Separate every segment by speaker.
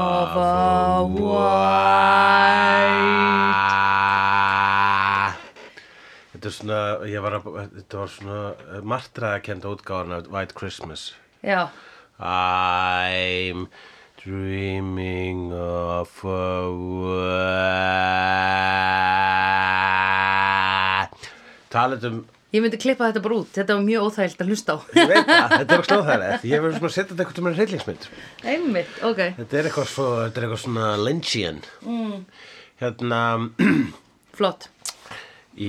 Speaker 1: Lava White
Speaker 2: Þetta er svona, ég var að, þetta var svona martraðakenda útgáðan af White Christmas.
Speaker 1: Já,
Speaker 2: I'm dreaming of a world. Talið um,
Speaker 1: ég myndi klippa þetta bara út Þetta var mjög óþægilt að hlusta á
Speaker 2: ég veit það, þetta er slóðhæðilegt. Ég verður svona að setja þetta eitthvað til mér reylingsmynd.
Speaker 1: Einmitt, ok
Speaker 2: Þetta er eitthvað, svo, þetta er eitthvað svona Lynchian. Mm. Hérna,
Speaker 1: Flott,
Speaker 2: í,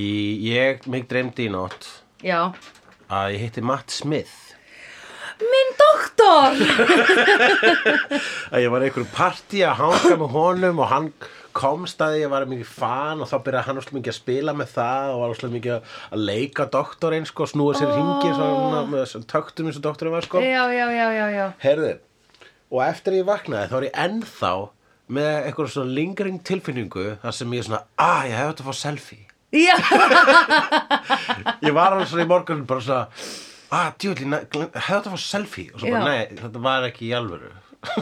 Speaker 2: ég, mig dreymdi í nótt
Speaker 1: já
Speaker 2: að ég hitti Matt Smith.
Speaker 1: Minn doktor
Speaker 2: að ég var í einhverju partí að hanga með honum og hann komst að því ég var mikið fan og þá byrjaði hann óslega mikið að spila með það og var óslega mikið að- að leika doktorinn sko, snúa sér oh. ringi svona, með þessum töktum eins og doktorinn var sko
Speaker 1: Já, já, já, já, já
Speaker 2: Heyrðu, og eftir að ég vaknaði þá er ég ennþá með einhverjum svona lingring tilfinningu þar sem ég er svona, ah, ég hef þetta að fá selfie
Speaker 1: Já,
Speaker 2: ég var alveg svona í morgun bara svona, ah, djúli, hefði þetta að fá selfie og svo bara,
Speaker 1: Já.
Speaker 2: nei, þetta var ekki í alvöru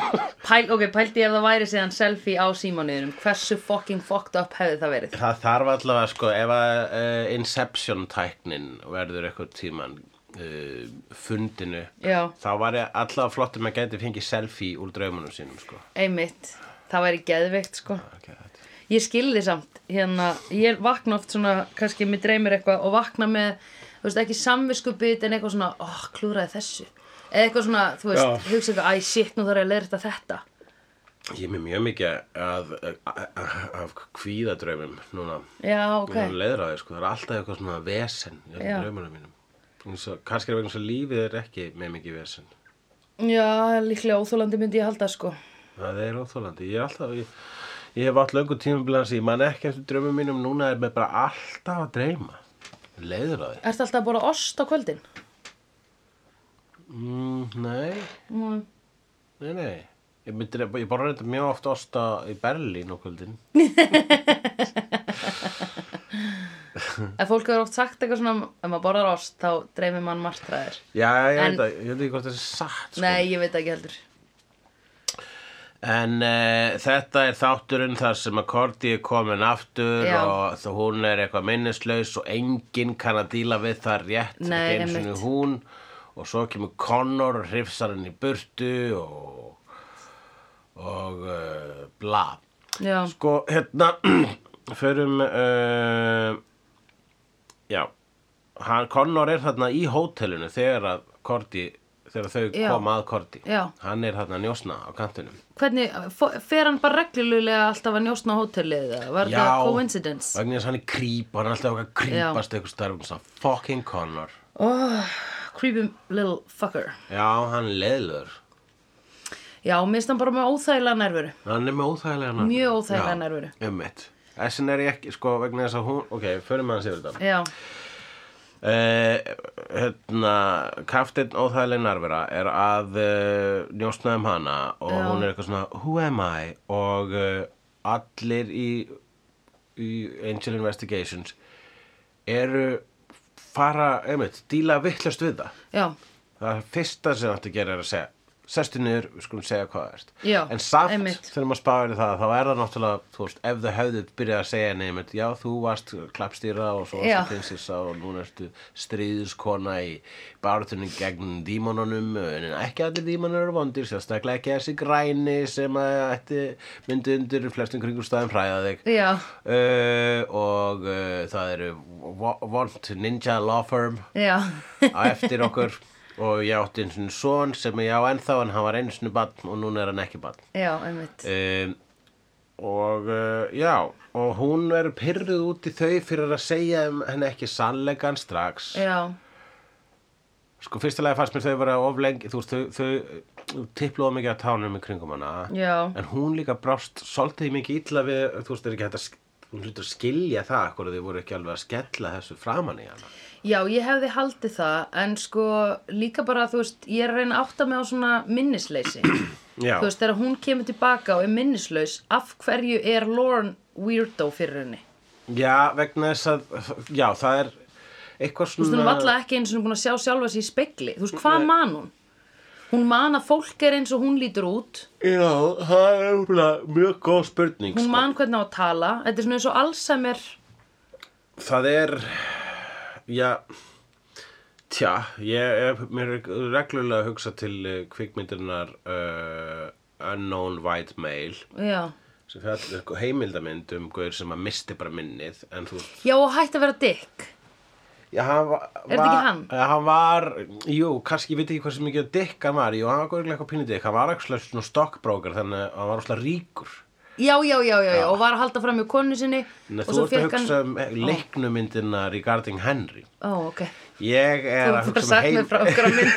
Speaker 1: Pæl, ok, pældi ef það væri síðan selfie á símanuðinum Hversu fucking fucked up hefði það verið
Speaker 2: Það þarf allavega sko ef að uh, Inception tæknin verður eitthvað tíman uh, fundinu
Speaker 1: Já.
Speaker 2: þá var ég allavega flott um að gæti fengið selfie úr draumunum sínum sko
Speaker 1: Einmitt, það væri geðveikt sko
Speaker 2: okay, þetta-
Speaker 1: Ég skilði samt, hérna, ég vakna oft svona, kannski mér dreymir eitthvað og vakna með, þú veist, ekki samviskubit en eitthvað svona, oh, klúraði þessu. Eða eitthvað svona, þú veist,
Speaker 2: Já.
Speaker 1: hugsa eitthvað, æ, shit, nú þarf ég að leirta þetta.
Speaker 2: Ég er með mjög mikið að, að, að, að kvíða draumum núna
Speaker 1: Já, ok.
Speaker 2: Ég er leiðraði sko, það er alltaf eitthvað svona vesen í öllum
Speaker 1: Já.
Speaker 2: draumunum mínum Eins og- Kannski er vegna svo lífið er ekki með mikið vesen
Speaker 1: Já, líklega óþólandi myndi ég halda, sko.
Speaker 2: Það er óþólandi. Ég er alltaf, ég, ég hef átt löngu tímabilans, ég man ekki eftir draumum mínum, núna er mér bara alltaf að dreyma. Leiður á því.
Speaker 1: Ertu alltaf að bóra ost á kvöldin?
Speaker 2: Mm, nei,
Speaker 1: Mm.
Speaker 2: nei, nei. Ég, myndi, ég borða þetta mjög oft osta í Berlín og kvöldin. Hm.
Speaker 1: Ef fólk hefur oft sagt eitthvað svona, ef maður borðar ost, þá dreymir mann martraðir.
Speaker 2: Já, ég
Speaker 1: En-
Speaker 2: veit það, ég veit ekki hvort það er satt. Sko.
Speaker 1: Nei, ég veit ekki heldur.
Speaker 2: En uh, þetta er þátturinn þar sem að Korti er komin aftur
Speaker 1: Já.
Speaker 2: og þá hún er eitthvað minnislaus og enginn kann að díla við það rétt
Speaker 1: Nei,
Speaker 2: ekki einu sinni
Speaker 1: einmitt.
Speaker 2: hún og svo kemur Connor og hrifsar henni í burtu og, og uh, bla
Speaker 1: Já,
Speaker 2: Sko, hérna förum uh, já hann, Connor er þarna í hótelinu þegar að Korti þegar þau
Speaker 1: Já.
Speaker 2: koma að Korti
Speaker 1: Já.
Speaker 2: hann er þarna að njósna á kantinum
Speaker 1: hvernig, fó- fer hann bara reglulega alltaf að njósna á hótelið? eða Var
Speaker 2: Já,
Speaker 1: það coincidence?
Speaker 2: vegna þess að hann er krýp hann er alltaf okkar krýpast eitthvað starfum svona fucking Connor
Speaker 1: Oh, creepy little fucker.
Speaker 2: já, hann er leiðlur
Speaker 1: Já, mér finnst hann bara með óþægilega nervuru.
Speaker 2: hann er með óþægilega nervur
Speaker 1: Mjög óþægilega
Speaker 2: Já,
Speaker 1: nervur.
Speaker 2: einmitt. þessin er ég ekki, sko, vegna þess að hún ok, förum að hans yfir þetta
Speaker 1: Já,
Speaker 2: Eh, hérna, kaftin óþægileg narvera er að uh, njósna um hana og
Speaker 1: Já.
Speaker 2: hún er eitthvað svona who am I og uh, allir í, í Angel Investigations eru fara, einmitt, díla vittlust við það
Speaker 1: já,
Speaker 2: það fyrsta sem þetta gerir er að segja sestu niður, við skulum segja hvað það ert
Speaker 1: Já,
Speaker 2: en samt,
Speaker 1: einmitt.
Speaker 2: þegar maður spáir í það þá er það náttúrulega, þú veist, ef þau hefðu byrjað að segja nefnt, já, þú varst klappstýra og svo
Speaker 1: Já.
Speaker 2: varstu prinsessa og núna ertu stríðuskona í barutunum gegn dímonunum en ekki allir dímonur eru vondir sérstaklega ekki þessi græni sem að ætti myndi undir flestum kringumstæðum hræða þig
Speaker 1: já,
Speaker 2: uh, og uh, það eru Wo- Vont Ninja Law Firm
Speaker 1: já,
Speaker 2: á eftir okkur og ég átti einu sinni son sem ég á ennþá en hann var einu sinni barn og núna er hann ekki barn
Speaker 1: já, einmitt.
Speaker 2: um, og uh, já og hún er pyrruð út í þau fyrir að segja um henni ekki sannleikan strax
Speaker 1: Já,
Speaker 2: sko fyrstilega fannst mér þau vera of lengi þú veist þau, þau, þau tippluðu mikið að tánum í kringum hana
Speaker 1: Já.
Speaker 2: en hún líka brást svolítið mikið illa við þú veist er ekki hægt að sk- hún hlutur að skilja það hvort þau voru ekki alveg að skella þessu framan í hana
Speaker 1: já, ég hefði haldið það, en sko líka bara, þú veist, ég er að reyna að átta mig á svona minnisleysi.
Speaker 2: já,
Speaker 1: þú veist, þegar hún kemur tilbaka og er minnislaus, af hverju er Lauren weirdo fyrir henni?
Speaker 2: Já, vegna þess að, já, það er eitthvað svona...
Speaker 1: Þú veist, hún var alltaf ekki eins og hún búin að sjá sjálfa sér í spegli. Þú veist, hvað man hún? hún man að fólk er eins og hún lítur út
Speaker 2: Já, það er úrlega mjög góð spurning
Speaker 1: hún
Speaker 2: sko.
Speaker 1: man hvernig á að tala þetta er svona eins og Alzheimer
Speaker 2: Það er, já, tja, ég er mér er reglulega að hugsa til eh, kvikmyndirnar uh, Unknown White Male
Speaker 1: já,
Speaker 2: sem fjallar sko heimildamynd um guður sem að misti bara minnið en þú veist
Speaker 1: já og hætti að vera dikk
Speaker 2: Já, hann var,
Speaker 1: Er þetta ekki hann?
Speaker 2: Já, hann var, jú, kannski, ég veit ekki hvað sem mikið dikk hann var, jú, hann var góðurlega eitthvað pínudikk, hann var ekki svona stokkbrókar, þannig að hann var svona ríkur.
Speaker 1: já, já, já, já, já, og var að halda fram í konu sinni
Speaker 2: Nei,
Speaker 1: og
Speaker 2: þú
Speaker 1: svo
Speaker 2: ert að
Speaker 1: fekk hann
Speaker 2: hugsa um leiknumyndina Regarding Henry.
Speaker 1: ó, ok,
Speaker 2: Ég
Speaker 1: þú
Speaker 2: er að
Speaker 1: þú bara
Speaker 2: hugsa um
Speaker 1: sagt
Speaker 2: heim...
Speaker 1: mér frá okkur á mynd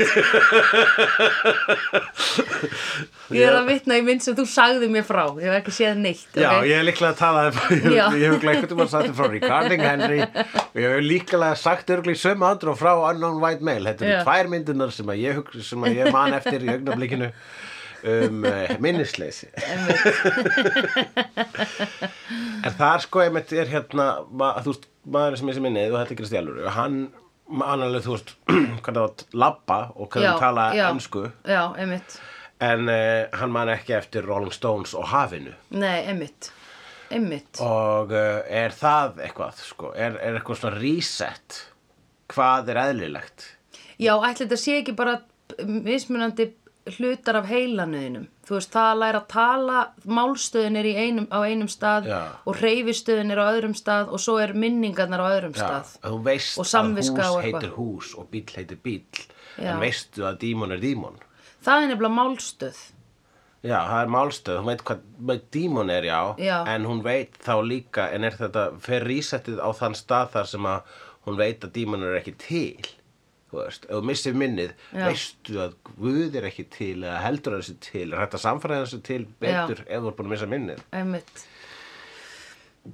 Speaker 1: ég er að vitna í mynd sem þú sagði mér frá ég hef ekki séð neitt
Speaker 2: Já,
Speaker 1: ok?
Speaker 2: ég hef líklega talað um, ég,
Speaker 1: Já.
Speaker 2: ég hef líklega eitthvað um að sagt þér frá Regarding Henry og ég hef líklega sagt örgulega í sömu andru og frá Unknown White Male. Þetta eru
Speaker 1: Já.
Speaker 2: tvær myndunar sem að ég, hugsa, sem að ég man eftir í augnablikinu um uh, minnisleysi.
Speaker 1: Einmitt.
Speaker 2: En það er sko einmitt er hérna, ma, þú veist, maður sem ég sem minnið og þetta gerist í alvöru, hann, hann alveg, þú veist, hvernig það var labba og hvernig
Speaker 1: Já,
Speaker 2: hann tala
Speaker 1: já.
Speaker 2: ennsku,
Speaker 1: já, einmitt
Speaker 2: en uh, hann man ekki eftir Rolling Stones og hafinu.
Speaker 1: nei, einmitt einmitt
Speaker 2: Og uh, er það eitthvað, sko, er, er eitthvað svona reset, hvað er eðlilegt?
Speaker 1: Já, ætli þetta sé ekki bara mismunandi hlutar af heilanuðinum. Þú veist, það að læra að tala, málstöðin er í einum, á einum stað
Speaker 2: Já.
Speaker 1: og reyfistöðin er á öðrum stað og svo er minningarnar á öðrum stað.
Speaker 2: að þú veist að
Speaker 1: Og
Speaker 2: hús
Speaker 1: samviska og eitthvað.
Speaker 2: heitir hús og bíll heitir bíll,
Speaker 1: Já.
Speaker 2: en veistu að dímon er dímon?
Speaker 1: Það er nefnilega málstöð.
Speaker 2: Já, það er málstöð, hún veit hvað, hvað dímon er, já,
Speaker 1: Já.
Speaker 2: en hún veit þá líka, en er þetta, fer rísettið á þann stað þar sem að hún veit að dímon er ekki til, þú veist, ef þú missir minnið,
Speaker 1: Já.
Speaker 2: veistu að Guð er ekki til eða heldur að þessu til, er hægt að samfæra þessu til betur ef þú er búin að missa minnið.
Speaker 1: Einmitt.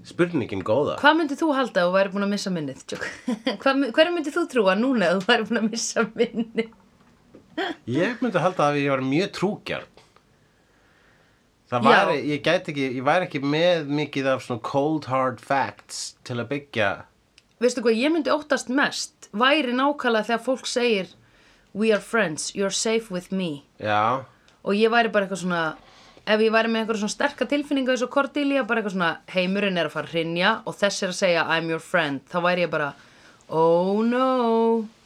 Speaker 2: Spurningin góða,
Speaker 1: Hvað myndið þú halda ef þú væri búin að missa minnið? Tjók. Hvað my- Hverju myndið þú trúa núna ef þú væri búin að missa minnið?
Speaker 2: ég myndi halda að ég var mjög trúgjarn. Það
Speaker 1: Já.
Speaker 2: væri, ég gæti ekki, ég væri ekki með mikið af svona cold hard facts til að byggja
Speaker 1: Veistu hvað, ég myndi óttast mest væri nákvæmlega þegar fólk segir We are friends, you're safe with me.
Speaker 2: Já,
Speaker 1: og ég væri bara eitthvað svona ef ég væri með einhverja svona sterka tilfinninga eins og Cordelia, bara eitthvað svona heimurinn er að fara að hrynja og þess er að segja I'm your friend þá væri ég bara oh no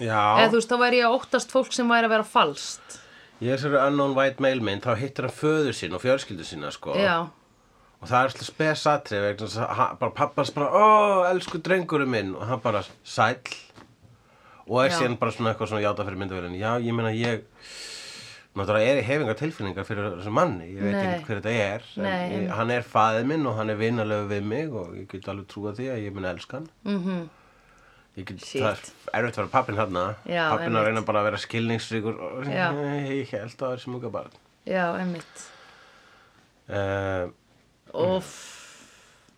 Speaker 2: já
Speaker 1: eða þú veist, þá væri ég að óttast fólk sem væri að vera falskt
Speaker 2: Í þessari unknown white male mynd þá hittir hann föður sín og fjölskyldu sína sko
Speaker 1: já,
Speaker 2: og það er alltaf spesatri vegna þess að hann- bara pappans bara ó, elsku drengurum minn og hann bara sæll og er
Speaker 1: Já.
Speaker 2: síðan bara svona eitthvað svona játa fyrir myndavélinn já, ég meina ég náttúrulega er í hefinga tilfinningar fyrir þessum manni ég veit
Speaker 1: Nei.
Speaker 2: ekki hver þetta er en
Speaker 1: Nei,
Speaker 2: ég,
Speaker 1: einmitt.
Speaker 2: hann er faðið minn og hann er vinalegu við mig og ég get alveg trúa því að ég mun elska hann mm -hmm. ég get,
Speaker 1: Mhm. Shit.
Speaker 2: það er erfitt að vera pappin hann
Speaker 1: Já,
Speaker 2: pappin að
Speaker 1: einmitt.
Speaker 2: reyna bara að vera skilningsríkur og
Speaker 1: Já.
Speaker 2: ég held að það er smuga barn
Speaker 1: já, einmitt
Speaker 2: uh,
Speaker 1: og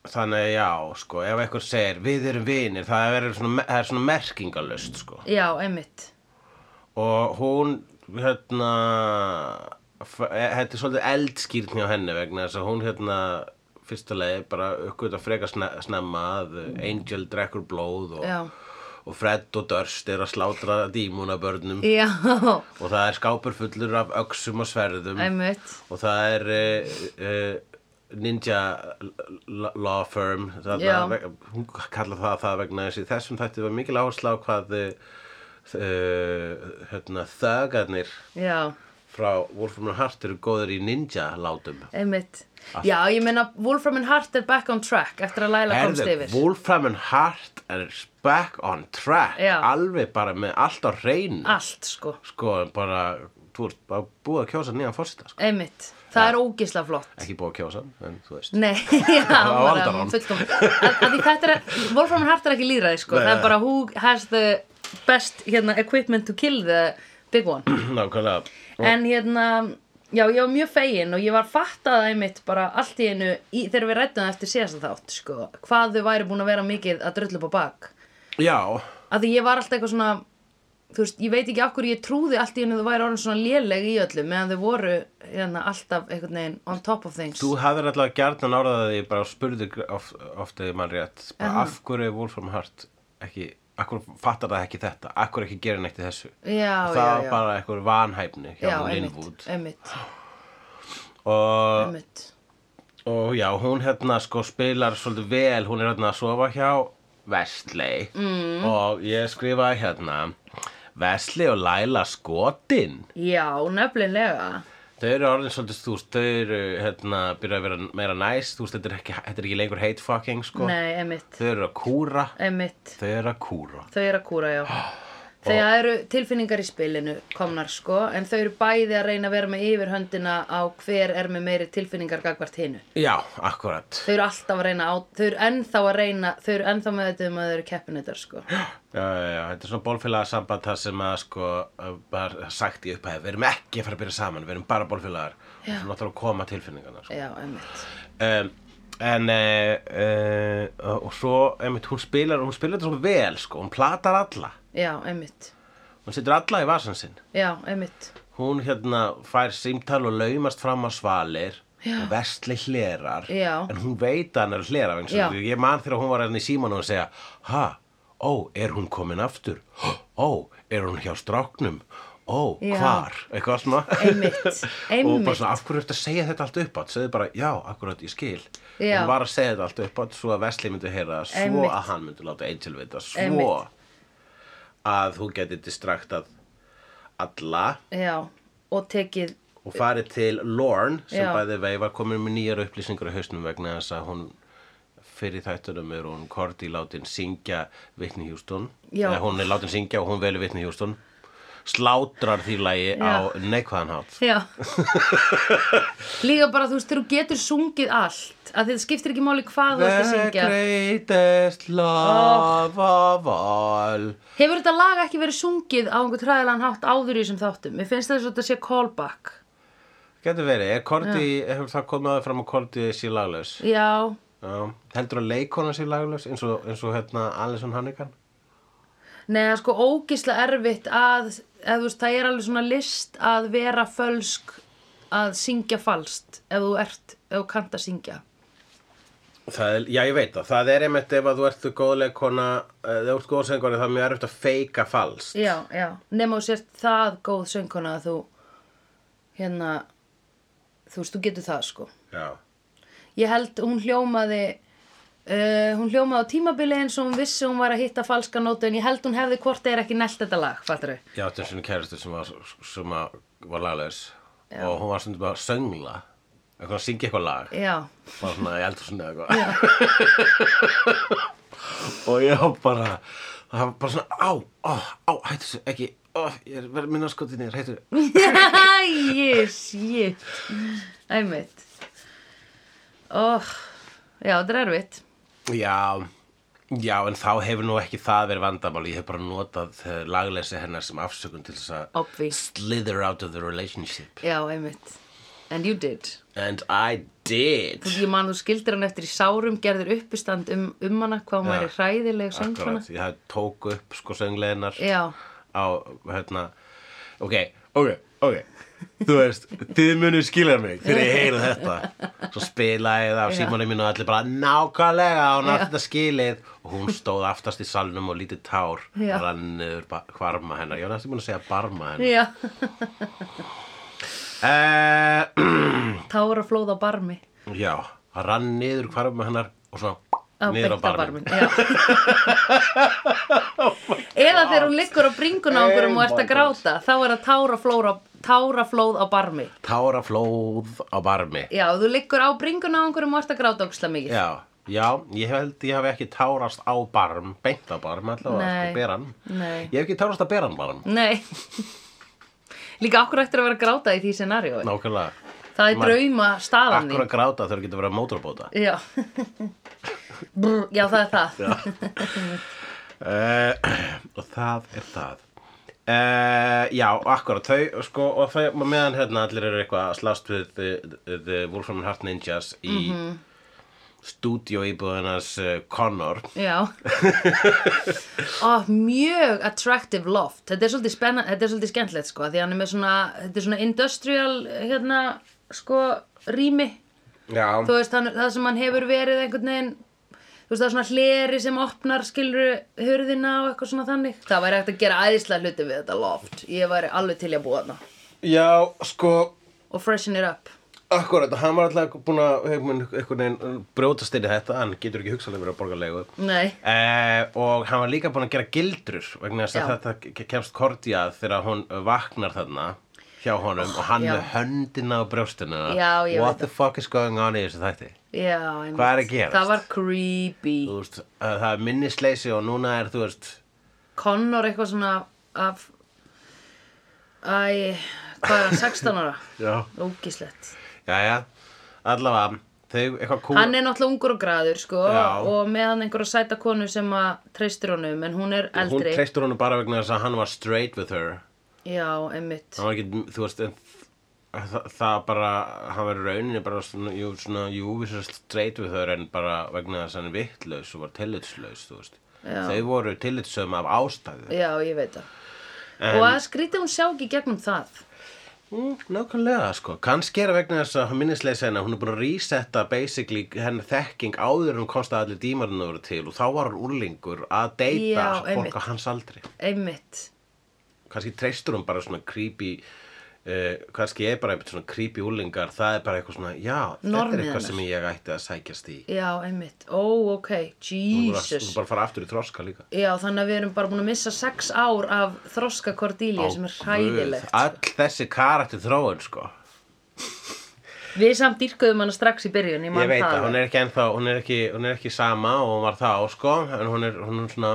Speaker 2: Þannig að já, sko, ef einhver segir við erum vinir, það er svona, það er svona merkingalust, sko.
Speaker 1: já, einmitt
Speaker 2: Og hún, hérna, f- e- þetta er svolítið eldskýrn hjá henni vegna þess að hún, hérna, fyrsta leið bara uppgöta frekar sne, snemma að Angel drekkur blóð og,
Speaker 1: já,
Speaker 2: og Fred og Durst er að slátra dímuna börnum
Speaker 1: já,
Speaker 2: og það er skápur fullur af öxum og sverðum
Speaker 1: einmitt
Speaker 2: og það er uh, uh, ninja l- l- law firm
Speaker 1: Já.
Speaker 2: þarna, veg- hún kallar það það vegna þessi þessum þætti var mikil áhersla á hvað uh, hérna, þögarnir
Speaker 1: já,
Speaker 2: frá Wolfram and Hart eru góður í ninja látum
Speaker 1: einmitt já, ég meina Wolfram and Hart er back on track eftir að Laila komst
Speaker 2: Herðu,
Speaker 1: yfir
Speaker 2: Wolfram and Hart er back on track
Speaker 1: Já.
Speaker 2: alveg bara með allt á reynu
Speaker 1: allt, sko,
Speaker 2: sko bara þú ert bara búið að kjósa nýjan fórsita sko.
Speaker 1: einmitt það er ógisla flott
Speaker 2: ekki búið að kjósa hann, en þú veist
Speaker 1: Nei, já, bara
Speaker 2: aldarann.
Speaker 1: fullkomun að, að því þetta er, Wolfram and Hart er ekki líraði sko,
Speaker 2: Nei,
Speaker 1: það
Speaker 2: nei.
Speaker 1: er bara who has the best hérna, equipment to kill the big one
Speaker 2: nákvæmlega
Speaker 1: en hérna, já, ég var mjög fegin og ég var fattað einmitt bara allt í einu í, þegar við rættum eftir síðast þátt sko, hvað þau væri búin að vera mikið að drullu upp á bak
Speaker 2: já,
Speaker 1: að því ég var alltaf eitthvað svona þú veist, ég veit ekki okkur ég trúði allt í einu þau væri orðin svona léleg í öllu meðan þau voru hérna, alltaf einhvern veginn on top of things
Speaker 2: Þú hefðir alltaf gjarnan orðað því bara og spurði of, ofta því mann rétt bara, af hverju er Wolfram Hart ekki akkur fattar það ekki þetta akkur ekki gera neitt í þessu
Speaker 1: Já,
Speaker 2: það
Speaker 1: já,
Speaker 2: var
Speaker 1: já.
Speaker 2: bara eitthvað vanhæfni hjá
Speaker 1: já,
Speaker 2: Linwood
Speaker 1: einmitt, einmitt,
Speaker 2: og,
Speaker 1: einmitt.
Speaker 2: og já, hún hérna sko spilar svolítið vel hún er hérna að sofa hjá Wesley mm. og ég skrifaði hérna Wesley og Laila skotin
Speaker 1: Já, nefnilega.
Speaker 2: Þau eru orðin svolítið, þú veist, þau eru, hérna, byrja að vera meira næs, þú veist, þetta er ekki, þetta er ekki lengur hate fucking, sko.
Speaker 1: Nei, einmitt,
Speaker 2: Þau eru að kúra,
Speaker 1: einmitt.
Speaker 2: þau eru að kúra.
Speaker 1: Þau eru að kúra, já. Þegar eru tilfinningar í spilinu komnar sko, en þau eru bæði að reyna að vera með yfirhöndina á hver er með meiri tilfinningar gagvart hinu.
Speaker 2: Já, akkurat.
Speaker 1: Þau eru alltaf að reyna á, þau eru ennþá að reyna, þau eru ennþá með þetta um að þau eru keppinautar sko.
Speaker 2: Já, já, já, þetta er svona bólfélagasamband þar sem að, sko, að bara sagt í upphæði, við erum ekki að fara að byrja saman, við erum bara bólfélagar. Já. Og svo náttúrulega koma tilfinningarna, sko.
Speaker 1: Já, einmitt.
Speaker 2: Um, en, uh, uh, og svo, einmitt, hún spilar, hún spilar þetta svo vel, sko, hún platar alla.
Speaker 1: Já, einmitt.
Speaker 2: Hún setur alla í vasan sinn.
Speaker 1: Já, einmitt.
Speaker 2: hún hérna fær símtal og laumast fram á svalir og vestli hlerar
Speaker 1: Já.
Speaker 2: en hún veit að hann er að hlera eins
Speaker 1: Já.
Speaker 2: og ég man þegar hún var hérna í síman og hún segja ha, ó, er hún komin aftur ó, er hún hjá stráknum ó,
Speaker 1: Já.
Speaker 2: hvar eitthvað svona
Speaker 1: Einmitt,
Speaker 2: og
Speaker 1: einmitt.
Speaker 2: bara svona, af hverju ertu að segja þetta allt uppátt segðu bara, já, akkurat, ég skil
Speaker 1: Já.
Speaker 2: hún var að segja þetta allt uppátt svo að Vesli myndi heyra það, svo
Speaker 1: Einmitt.
Speaker 2: að hann myndi láta Angel vita, svo
Speaker 1: Einmitt.
Speaker 2: að þú geti distraktað alla
Speaker 1: Já, og tekið,
Speaker 2: og farið til Lorne sem
Speaker 1: Já.
Speaker 2: bæði vei var komin með nýjar upplýsingar á hausnum vegna þess að hún fyrir þættunum er hún Korti látin syngja Whitney Houston
Speaker 1: Já.
Speaker 2: eða hún er látin syngja og hún veli Whitney Houston slátrar því lagi á neikvæðan hátt
Speaker 1: já. Líka bara þú veist, þegar þú getur sungið allt, að þetta skiptir ekki máli hvað þú ert að
Speaker 2: The
Speaker 1: syngja.
Speaker 2: greatest love of all
Speaker 1: Hefur þetta lag ekki verið sungið á einhvern træðilegan hátt áður í þessum þáttum? Mér finnst þess að þetta sé callback.
Speaker 2: Getur verið, er Korti, hefur það komið aðeins fram að Korti sé laglaus?
Speaker 1: Já,
Speaker 2: Já. Heldur að leikona sé laglaus eins og, eins og hérna Alison Hannigan?
Speaker 1: neða sko ógisla erfitt að, eða þú veist, það er alveg svona list að vera fölsk, að syngja falskt, ef þú ert, ef þú kannt að syngja.
Speaker 2: Það er, já, ég veit það. Það er einmitt ef að þú ert góðleikona, eh, ef þú ert góðsengari, það er mjög erfitt að feika falskt.
Speaker 1: Já, já, nema þú sért það góð sönguna að þú, hérna, þú veist, þú getur það sko.
Speaker 2: Já.
Speaker 1: Ég held hún hljómaði uh, hún hljómaði á tímabili eins og hún vissi hún var að hitta falska nótu en ég held hún hefði hvort eð er ekki nelt þetta lag, fattar þau?
Speaker 2: Ég átti einu svona kæristu sem var, sem að var lagleis og hún var svona bara að söngla, eitthvað að syngja eitthvað lag,
Speaker 1: Já,
Speaker 2: bara svona í eldhúsinu eða eitthvað. og ég var bara, það var bara svona, á, á, á, hættu þessu, ekki, ó, ég er verið minna skotið nýr, hættu þessu.
Speaker 1: yes, yes Æmitt oh, Já, þetta er erfitt
Speaker 2: Já, já, en þá hefur nú ekki það verið vandamáli, ég hef bara notað eh, lagleysi hennar sem afsökun til þess að
Speaker 1: Obvi,
Speaker 2: slither out of the relationship
Speaker 1: já, æmitt And you did
Speaker 2: and I did
Speaker 1: Ég man þú skildir hann eftir í sárum gerðir uppistand um, um hana hvað hún
Speaker 2: Já.
Speaker 1: væri hræðileg söngfana
Speaker 2: Akkurat, ég hafði tók upp sko söngleginar
Speaker 1: Já,
Speaker 2: á hérna ok, ok, ok þú veist, þið munu skilja mig þegar ég heyri þetta svo spilaði ég það á símanum mínu og allir bara nákvæmlega hún átti þetta skilið og hún stóð aftast í salnum og lítið tár
Speaker 1: Já.
Speaker 2: rann yfir ba- hvarma hennar ég var næstu búin að segja barma hennar
Speaker 1: já,
Speaker 2: yeah.
Speaker 1: táraflóð á barmi
Speaker 2: Eh, já, hann rann niður hvarma hennar og
Speaker 1: á
Speaker 2: svona niður á barminn
Speaker 1: beitabarmin eða þegar hún liggur á bringuna á einhverjum
Speaker 2: Oh
Speaker 1: og
Speaker 2: my
Speaker 1: ert að gráta þá er það táraflóð á, táraflóð á barmi
Speaker 2: Táraflóð á barmi
Speaker 1: já, þú liggur á bringuna á einhverjum og ert að gráta óksla mikið
Speaker 2: Já, já, ég held ég hef ekki tárast á barm, beint á barm allavega,
Speaker 1: Nei.
Speaker 2: sko, beran
Speaker 1: Nei.
Speaker 2: Ég hef ekki tárast á beran barm,
Speaker 1: nei líka akkur eftir að vera að gráta í því scenaríu
Speaker 2: nákvæmlega
Speaker 1: það er
Speaker 2: Man-
Speaker 1: drauma staðan
Speaker 2: Akkur
Speaker 1: þín
Speaker 2: að gráta þegar getur verið að mótorbóta
Speaker 1: já. Brr, já, það er það
Speaker 2: uh, Og það er það Uh, já, akkurat, þau, sko, og þau, meðan hérna allir eru eitthvað að slast við The, the Wolfram and Heart Ninjas í mm
Speaker 1: Mhm.
Speaker 2: -hmm. stúdíóíbúðinars uh, Connor
Speaker 1: Já Ó, Mjög attractive loft Þetta er svolítið, spenna, þetta er svolítið skemmtilegt sko Því hann er með svona, þetta er svona industrial hérna, sko, rými
Speaker 2: Já,
Speaker 1: Þú veist, hann, það sem hann hefur verið einhvern veginn Þú veist það er svona hleri sem opnar skilru hurðina og eitthvað svona þannig það væri hægt að gera æðislega hluti við þetta loft ég væri alveg til í að búa þarna
Speaker 2: Já, sko,
Speaker 1: og freshen it up
Speaker 2: akkurat, hann var alltaf búin að einhvern einhvern veginn brjótast inn í þetta, hann getur ekki hugsaðlega verið að borga leigu.
Speaker 1: Nei.
Speaker 2: Eh, og hann var líka búin að gera gildrur vegna þess að
Speaker 1: Já.
Speaker 2: þetta ke- kemst Korti að þegar hún vaknar þarna hjá honum og hann
Speaker 1: já.
Speaker 2: með höndina á brjóstinu.
Speaker 1: Já, ég veit
Speaker 2: What the fuck is going on í þessu þætti?
Speaker 1: Já, einmitt.
Speaker 2: Hvað er að gerast?
Speaker 1: það var creepy
Speaker 2: Þú veist, að það er minnisleysi og núna er, þú veist,
Speaker 1: Connor eitthvað svona af æ, hvað er hann, 16 ára
Speaker 2: já,
Speaker 1: ógislegt
Speaker 2: já, allavega, þau eitthvað kúra.
Speaker 1: hann er náttúrulega ungur og graður sko
Speaker 2: Já.
Speaker 1: og með hann einhverja sæta konu sem að treystir honum en hún er
Speaker 2: Hún
Speaker 1: eldri
Speaker 2: treystur honum bara vegna þess að hann var straight with her.
Speaker 1: já, einmitt
Speaker 2: hann var ekki, þú veist en, það, það bara, hann var í rauninni bara svona, jú, svona, jú, við sér streit við þau en bara vegna þess að hann er vittlaus og var tillitslaus, þú veist
Speaker 1: Já.
Speaker 2: þau voru tillitssöma af ástæðu
Speaker 1: já, ég veit það og að skrýta hún sjá ekki gegnum það
Speaker 2: mm, nákvæmlega, sko, kannski er vegna þess að minnisleisa hennar, hún er búin að resetta basically hennar þekking áður en hún komst að allir dímarinn voru til og þá var hann úrlingur að deyta
Speaker 1: Já, einmitt.
Speaker 2: fólk á hans aldri
Speaker 1: einmitt
Speaker 2: kannski treystur hún bara svona creepy uh, kannski er bara eitthvað svona creepy úlingar það er bara eitthvað svona, já, þetta
Speaker 1: Normið
Speaker 2: er eitthvað
Speaker 1: hennar.
Speaker 2: sem ég ætti að sækjast í
Speaker 1: já, einmitt, ó, ok,
Speaker 2: Hún var að-
Speaker 1: Jesus
Speaker 2: hún bara fara aftur í þroska líka
Speaker 1: já, þannig að við erum bara búin að missa 6 ár af þroska Cordelia sem
Speaker 2: Á
Speaker 1: er hræðilegt
Speaker 2: guð, all þessi karakter þróun sko
Speaker 1: Við samt dýrkuðum hana strax í byrjun, ég mann
Speaker 2: ég veit
Speaker 1: það.
Speaker 2: að hún er ekki ennþá hún er ekki, hún er ekki sama og hún var þá sko en hún er, hún er svona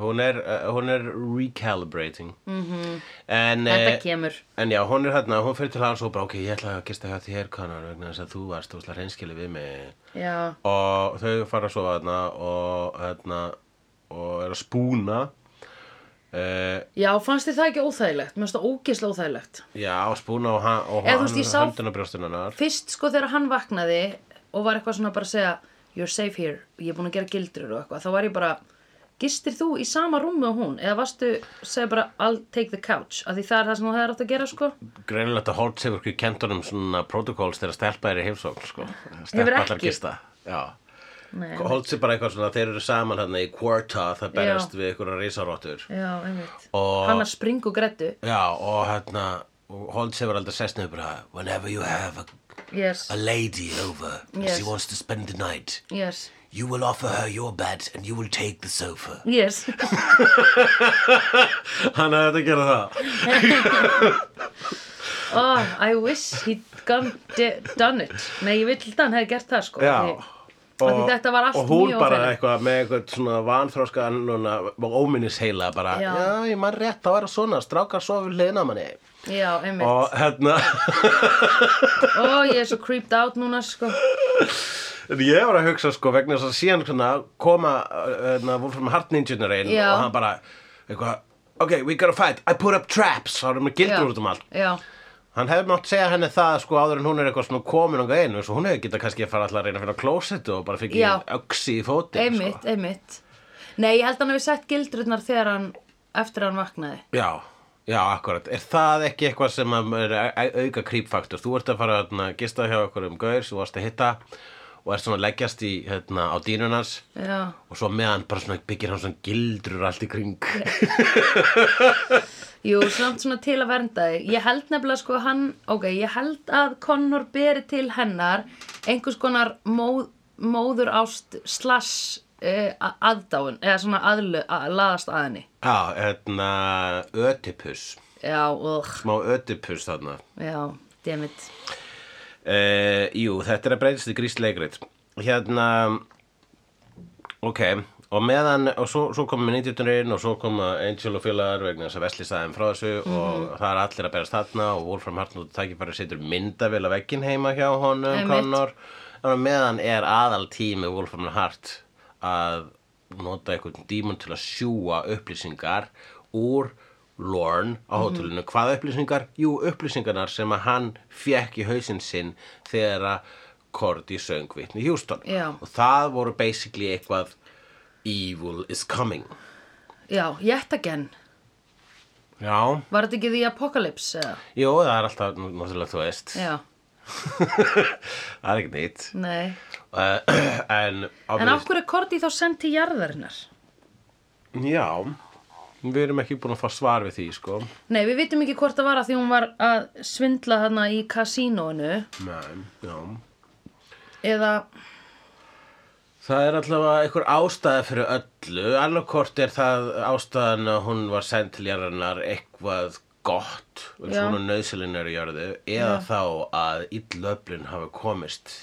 Speaker 2: hún er, uh, hún er recalibrating mm -hmm. en,
Speaker 1: Mhm. Þetta
Speaker 2: eh,
Speaker 1: kemur.
Speaker 2: En já, hún er hérna, hún fyrir til hans og bara, ok, ég ætla að gista hjá þér kannar vegna þess að þú varst óslega reynskili við mig.
Speaker 1: Já,
Speaker 2: og þau fara að sofa þarna og hérna og er að spúna uh,
Speaker 1: já fannst þið það ekki óþægilegt? Mér finnst það ógeðslega óþægilegt.
Speaker 2: já, spúna og, hann, og
Speaker 1: Eða, þú veist, ég sá-
Speaker 2: höndina brjóstunarnar
Speaker 1: Fyrst sko þegar hann vaknaði og var eitthvað svona bara að segja You're safe here, ég er búin að gera gildrur og eitthvað. Þá var ég bara, gistir þú í sama rúmi og hún? Eða varstu, segja bara I'll take the couch. Af því það er það sem það er átt að gera sko.
Speaker 2: greinilegt að Holt hefur ekki kentunum svona protocols þegar stelpa er í heimsókn sko.
Speaker 1: Hefur
Speaker 2: stelpa allar
Speaker 1: ekki?
Speaker 2: gista já
Speaker 1: Nei.
Speaker 2: Holt er bara eitthvað svona, þeir eru saman hérna í Quarta, það berjast við einhverja risaróttur
Speaker 1: Já, einmitt.
Speaker 2: Og-
Speaker 1: Hann að springa og grettu.
Speaker 2: já, og hérna Holt hefur aldrei sest niður bara whenever you have a,
Speaker 1: Yes,
Speaker 2: a lady over and
Speaker 1: Yes.
Speaker 2: she wants to spend the night
Speaker 1: yes,
Speaker 2: You will offer her your bed and you will take the sofa.
Speaker 1: yes.
Speaker 2: Hann hefði þetta að gera það.
Speaker 1: Oh, I wish he'd gone, de- done it. Nei, ég vill að hann hefði gert það sko. Því- Af því þetta var allt
Speaker 2: og hún
Speaker 1: mjög
Speaker 2: bara
Speaker 1: óþægilegt.
Speaker 2: eitthvað með eitthvað svona vanþróska annuna og óminnisheila bara
Speaker 1: Já.
Speaker 2: já, ég man rétt að vera svona, strákar svo við hliðina á manni
Speaker 1: Já, einmitt. Ó,
Speaker 2: og hérna,
Speaker 1: ég er svo creeped out núna, sko.
Speaker 2: ég var að hugsa sko vegna þess að síðan svona koma hérna, Wolfram Hart Ninjunur einn
Speaker 1: Já.
Speaker 2: og hann bara eitthvað, ok, we gotta fight, I put up traps þá erum við
Speaker 1: Já,
Speaker 2: gildur út um allt
Speaker 1: Já,
Speaker 2: Hann hefði mátt segja henni það sko áður en hún er eitthvað svona komin og einu svo hún hefði getað kannski að fara alltaf að reyna að finna klósetu og bara fikk í
Speaker 1: Já.
Speaker 2: öksi í fótinn
Speaker 1: einmitt,
Speaker 2: sko.
Speaker 1: einmitt. Nei, ég held hann hefur sett gildrurnar þegar hann, eftir að hann vaknaði.
Speaker 2: Já, já, akkurat Er það ekki eitthvað sem að er au- auka creepfaktor? Þú ert að fara að gista hjá okkur um gaur sem þú varst að hitta og er svona að leggjast í, hérna, á dýnunars
Speaker 1: Já,
Speaker 2: og svo meðan bara svona byggir hann svona gildrur allt í kring
Speaker 1: jú, samt svona til að vernda þig. Ég held nefnilega, sko, hann, ok, ég held að Connor beri til hennar einhvers konar móð, móður ást slash uh, aðdáun, eða svona aðlu, að, laðast að henni.
Speaker 2: Já, hérna, ödipus
Speaker 1: Já, ugh,
Speaker 2: Má ödipus þarna
Speaker 1: já, dammit.
Speaker 2: Uh, jú, þetta er að breytast í grískt leikrit. Hérna, ok, og meðan, og svo, svo komum við 19. og svo koma Angel og félagar vegna þess að Vesli staðum frá þessu og það er allir að berast þarna og Wolfram Hartnótt tækifæri setur myndavél á vegginn heima hjá honum,
Speaker 1: Einmitt.
Speaker 2: Connor. Þannig að meðan er aðal tími Wolfram Hart að nota einhvern dímon til að sjúa upplýsingar úr Lorne á hótelinu. Hvaða upplýsingar? Jú, upplýsingarnar sem að hann fekk í hausinn sinn þegar að Cordy söng vitni Houston.
Speaker 1: Já.
Speaker 2: Og það voru basically eitthvað evil is coming.
Speaker 1: Já, yet again.
Speaker 2: Já.
Speaker 1: Var þetta ekki því Apocalypse, eða?
Speaker 2: Jú, það er alltaf, nú- náttúrulega þú veist.
Speaker 1: Já,
Speaker 2: það er ekkert nýtt.
Speaker 1: nei.
Speaker 2: Og Uh, en,
Speaker 1: En af hverju er Korti þá sendt til jarðarinnar?
Speaker 2: Já, við erum ekki búin að fá svar við því, sko.
Speaker 1: Nei, við vitum ekki hvort það var að því hún var að svindla þarna í kasínóinu
Speaker 2: Nei, já.
Speaker 1: eða,
Speaker 2: Það er allavega einhver ástæða fyrir öllu. Annarkort er það ástæðan að hún var send til jarðarinnar eitthvað gott, eins
Speaker 1: Já.
Speaker 2: og hún er nöðsynlinnar í jörðu, eða þá að illöflin hafa komist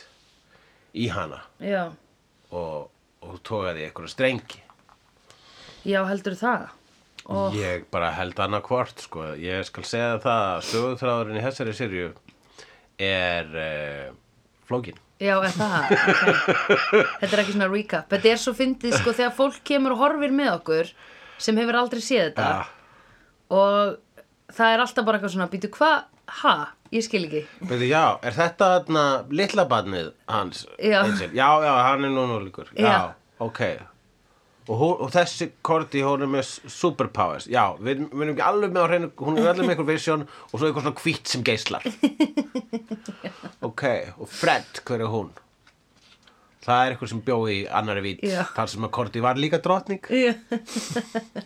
Speaker 2: í hana
Speaker 1: já,
Speaker 2: og, og tókaði í einhverja strengi.
Speaker 1: já heldur það. Og,
Speaker 2: Ég bara held annarkvort sko. Ég skal segja það að sögutráðurinn í þessari sirju er uh, flókin.
Speaker 1: Já, er það, ok. Þetta er ekki svona recap. Þetta er svo fyndið, sko, þegar fólk kemur og horfir með okkur sem hefur aldrei séð þetta
Speaker 2: Ah.
Speaker 1: og það er alltaf bara eitthvað svona, býtu, hva, ha, ég skil ekki.
Speaker 2: Veitu, já, er þetta þarna litla barnið hans?
Speaker 1: Já.
Speaker 2: Angel? Já, já, hann er núna líkur. Já,
Speaker 1: Já.
Speaker 2: ok. Og, hún, og þessi korti, hún er með s- superpowers. Já, við við erum ekki alveg með á hreinu, hún er alveg með einhver vision og svo eitthvað svona hvitt sem geislar. ok, og Fred, hver er hún? Það er eitthvað sem bjó í annari vít,
Speaker 1: Já.
Speaker 2: þar sem að korti var líka drottning.
Speaker 1: Já.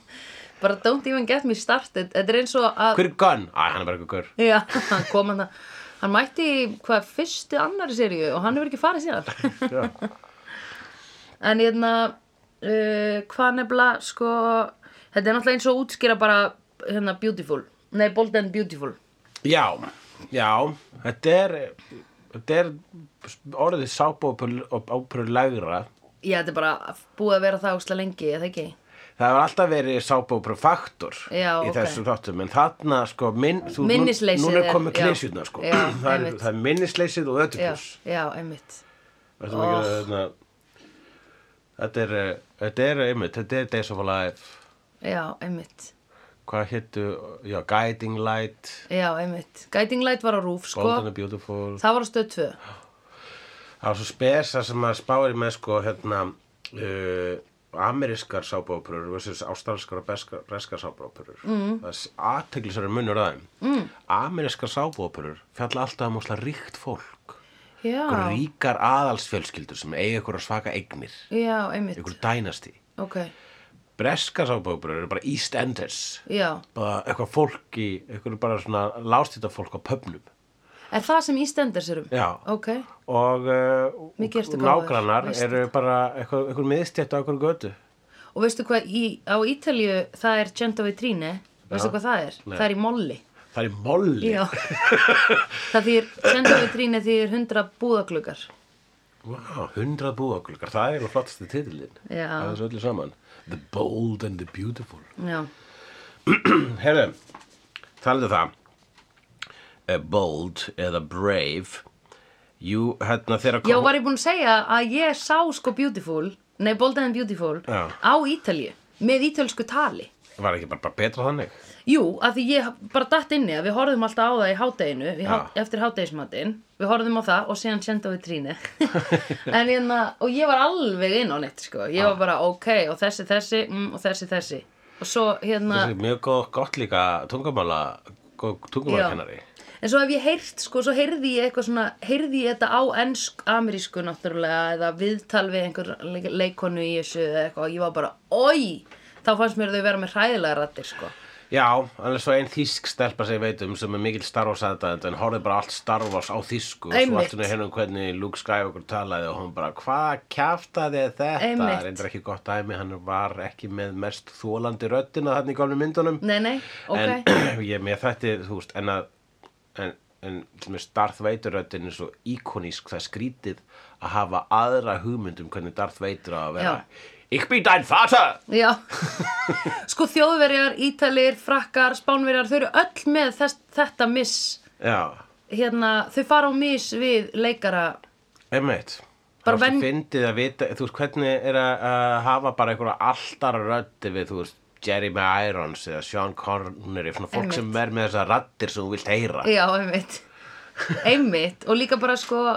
Speaker 1: bara don't even get me started. Þetta er eins og að,
Speaker 2: Hver er Gunn? Æ, hann er bara eitthvað gaur.
Speaker 1: já, hann kom hann að, hann mætti í, hvað fyrstu annari seríu og hann hefur ekki farið síðan.
Speaker 2: Já.
Speaker 1: En hérna, uh, hvað nefnilega, sko, þetta er náttúrulega eins og að útskýra bara, hérna, beautiful. Nei, bold and beautiful.
Speaker 2: Já, já, þetta er, þetta er orðið sápóperur lægra.
Speaker 1: Já, þetta er bara búið að vera það óslega lengi, eða ekki?
Speaker 2: Það hefur alltaf verið sápóperur faktor
Speaker 1: Já,
Speaker 2: í
Speaker 1: ok.
Speaker 2: þessum þáttum, en þarna sko, minn, þú, nú-
Speaker 1: Minnisleysið
Speaker 2: núna er
Speaker 1: er-
Speaker 2: komið
Speaker 1: já.
Speaker 2: klesjutna sko.
Speaker 1: Já,
Speaker 2: það, er,
Speaker 1: einmitt.
Speaker 2: það er minnisleysið og
Speaker 1: Já,
Speaker 2: ödipus.
Speaker 1: já, einmitt.
Speaker 2: Þetta er, oh. þetta, þetta er, eh, þetta er, einmitt, þetta er Days of Alive,
Speaker 1: Já, einmitt.
Speaker 2: hvað héttu, já, Guiding Light,
Speaker 1: Já, einmitt. Guiding Light var á rúf, sko.
Speaker 2: Golden and Beautiful.
Speaker 1: Það var á stöð 2.
Speaker 2: Það var svo spesa sem að spáir með sko hérna uh, amerískar sábóperur versus ástralskar og beska- breskar sábóperur. Mm. Það er aðteglisari munur aðeim. Mm. Amerískar sábóperur fjalla alltaf um óslega ríkt fólk.
Speaker 1: Já,
Speaker 2: Ah. Ríkar aðalsfjölskyldur sem eiga ykkur svaka eignir,
Speaker 1: já, einmitt.
Speaker 2: ykkur dænasti.
Speaker 1: Ok,
Speaker 2: Breskar sábóperur eru bara EastEnders.
Speaker 1: já.
Speaker 2: Bara eitthvað fólk í, eitthvað bara svona lástýta fólk á pöfnum.
Speaker 1: Er það sem Ístenders erum?
Speaker 2: Já.
Speaker 1: Ok,
Speaker 2: Og
Speaker 1: Mikið ertu
Speaker 2: uh,
Speaker 1: góður,
Speaker 2: nágrannar
Speaker 1: veist
Speaker 2: eru bara eitthvað, eitthvað miðstjætt á eitthvað götu.
Speaker 1: og veistu hvað, í, á Ítalju það er Gento Vitríne, veistu
Speaker 2: Já.
Speaker 1: hvað það er?
Speaker 2: Nei.
Speaker 1: Það er í molli.
Speaker 2: Það er í molli?
Speaker 1: Já. það þýr, Gento Vitríne þýr 100 búðagluggar.
Speaker 2: Vá, hundrað búagluggar, það er nú flottasti titilinn.
Speaker 1: Já.
Speaker 2: Það er þessu öllu saman. The bold and the beautiful.
Speaker 1: Já,
Speaker 2: Herru, talaðu um það. Uh, bold eða brave. Jú, hérna þegar
Speaker 1: já var ég búin að segja að ég sá sko Beautiful, nei Bold and Beautiful,
Speaker 2: Já.
Speaker 1: á Ítalju, með ítölsku tali.
Speaker 2: Var ekki bara, bara betra þannig?
Speaker 1: Jú, að því ég bara datt inni að við horfðum alltaf á það í hádeginu, í há,
Speaker 2: Já.
Speaker 1: eftir hádegismatinn, við horfðum á það og síðan senda við tríni. en hérna, og ég var alveg inn á neitt, sko, ég var bara ok, og þessi, þessi, mm, og þessi, þessi. Og svo hérna,
Speaker 2: Þessi er mjög gott, gott líka tungumála, góð tungumálakennari.
Speaker 1: en svo hef ég heyrt, sko, svo heyrði ég eitthvað svona, heyrði ég þetta á ensk, amerísku náttúrulega, eða viðtal við einhver leik- leikonu í þessu eða eitthvað, og ég var bara, oi, þá fannst mér þau vera með hræðilega rættir, sko.
Speaker 2: Já, hann er svo ein þýsk stelpa sem ég veit um sem er mikil Star Wars aðdæðandi en horfði bara allt Star Wars á þýsku svo
Speaker 1: Einmitt.
Speaker 2: allt henni hennum hvernig Luke Skywalker talaði og hann bara, hvað kjaftaði er þetta?
Speaker 1: Einmitt.
Speaker 2: Reyndar ekki gott dæmi, hann var ekki með mest þólandi röddina þannig í gamlu myndunum
Speaker 1: Nei, nei, Mm, ok.
Speaker 2: en ég með þetta, þú veist, en að en, en með Darth Vader röddin er svo íkonísk það er skrítið að hafa aðra hugmynd um hvernig Darth Vader á að vera
Speaker 1: Já.
Speaker 2: Ich bin dein Vater!
Speaker 1: Já, sko þjóðverjar, ítalir, frakkar, spánverjar, þau eru öll með þess, þetta miss,
Speaker 2: Já,
Speaker 1: hérna, þau fara á miss við leikara,
Speaker 2: Einmitt.
Speaker 1: Bara
Speaker 2: Bara venn...
Speaker 1: venj-
Speaker 2: Fyndið að vita, þú veist, hvernig er að uh, hafa bara einhverja alltara röddi við, þú veist, Jeremy Irons eða Sean Connery, svona fólk
Speaker 1: Einmitt.
Speaker 2: sem verð með þessar raddir sem þú vilt heyra.
Speaker 1: já, einmitt, einmitt, og líka bara sko,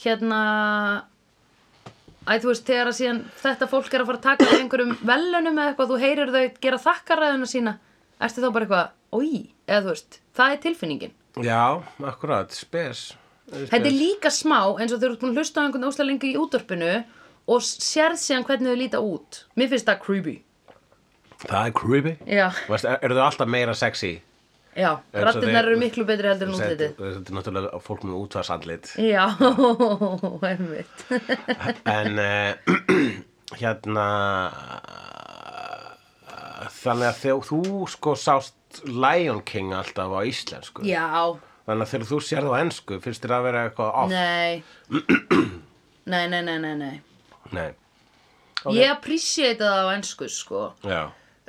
Speaker 1: hérna, æ, þú veist, þegar að síðan þetta fólk er að fara að taka við einhverjum velunum eða eitthvað, þú heyrir þau gera þakkaræðuna sína, ertu þá bara eitthvað, oi, eða þú veist, það er tilfinningin.
Speaker 2: Já, akkurat, spes.
Speaker 1: Þetta er líka smá eins og þau eru búin að hlusta á einhvern óslega lengi í útdorpinu og sérð síðan hvernig þau líta út. Mér finnst það creepy.
Speaker 2: Það er creepy
Speaker 1: Já.
Speaker 2: Vast, er, Eru þau alltaf meira sexy?
Speaker 1: Já,
Speaker 2: svo
Speaker 1: rattirnar
Speaker 2: þeir-
Speaker 1: eru miklu betri heldur en
Speaker 2: Þetta
Speaker 1: útlitið.
Speaker 2: þetta er náttúrulega fólk með útvarsandlit
Speaker 1: Já, einmitt.
Speaker 2: En uh, hérna Þannig að þegar þú sko sást Lion King alltaf á íslensku
Speaker 1: Já,
Speaker 2: Þannig að þegar þú sér það á ensku finnst þér að vera eitthvað off
Speaker 1: nei. Nei, nei, nei, nei, nei.
Speaker 2: Nei,
Speaker 1: Ég appreciate það á ennsku, sko.
Speaker 2: já,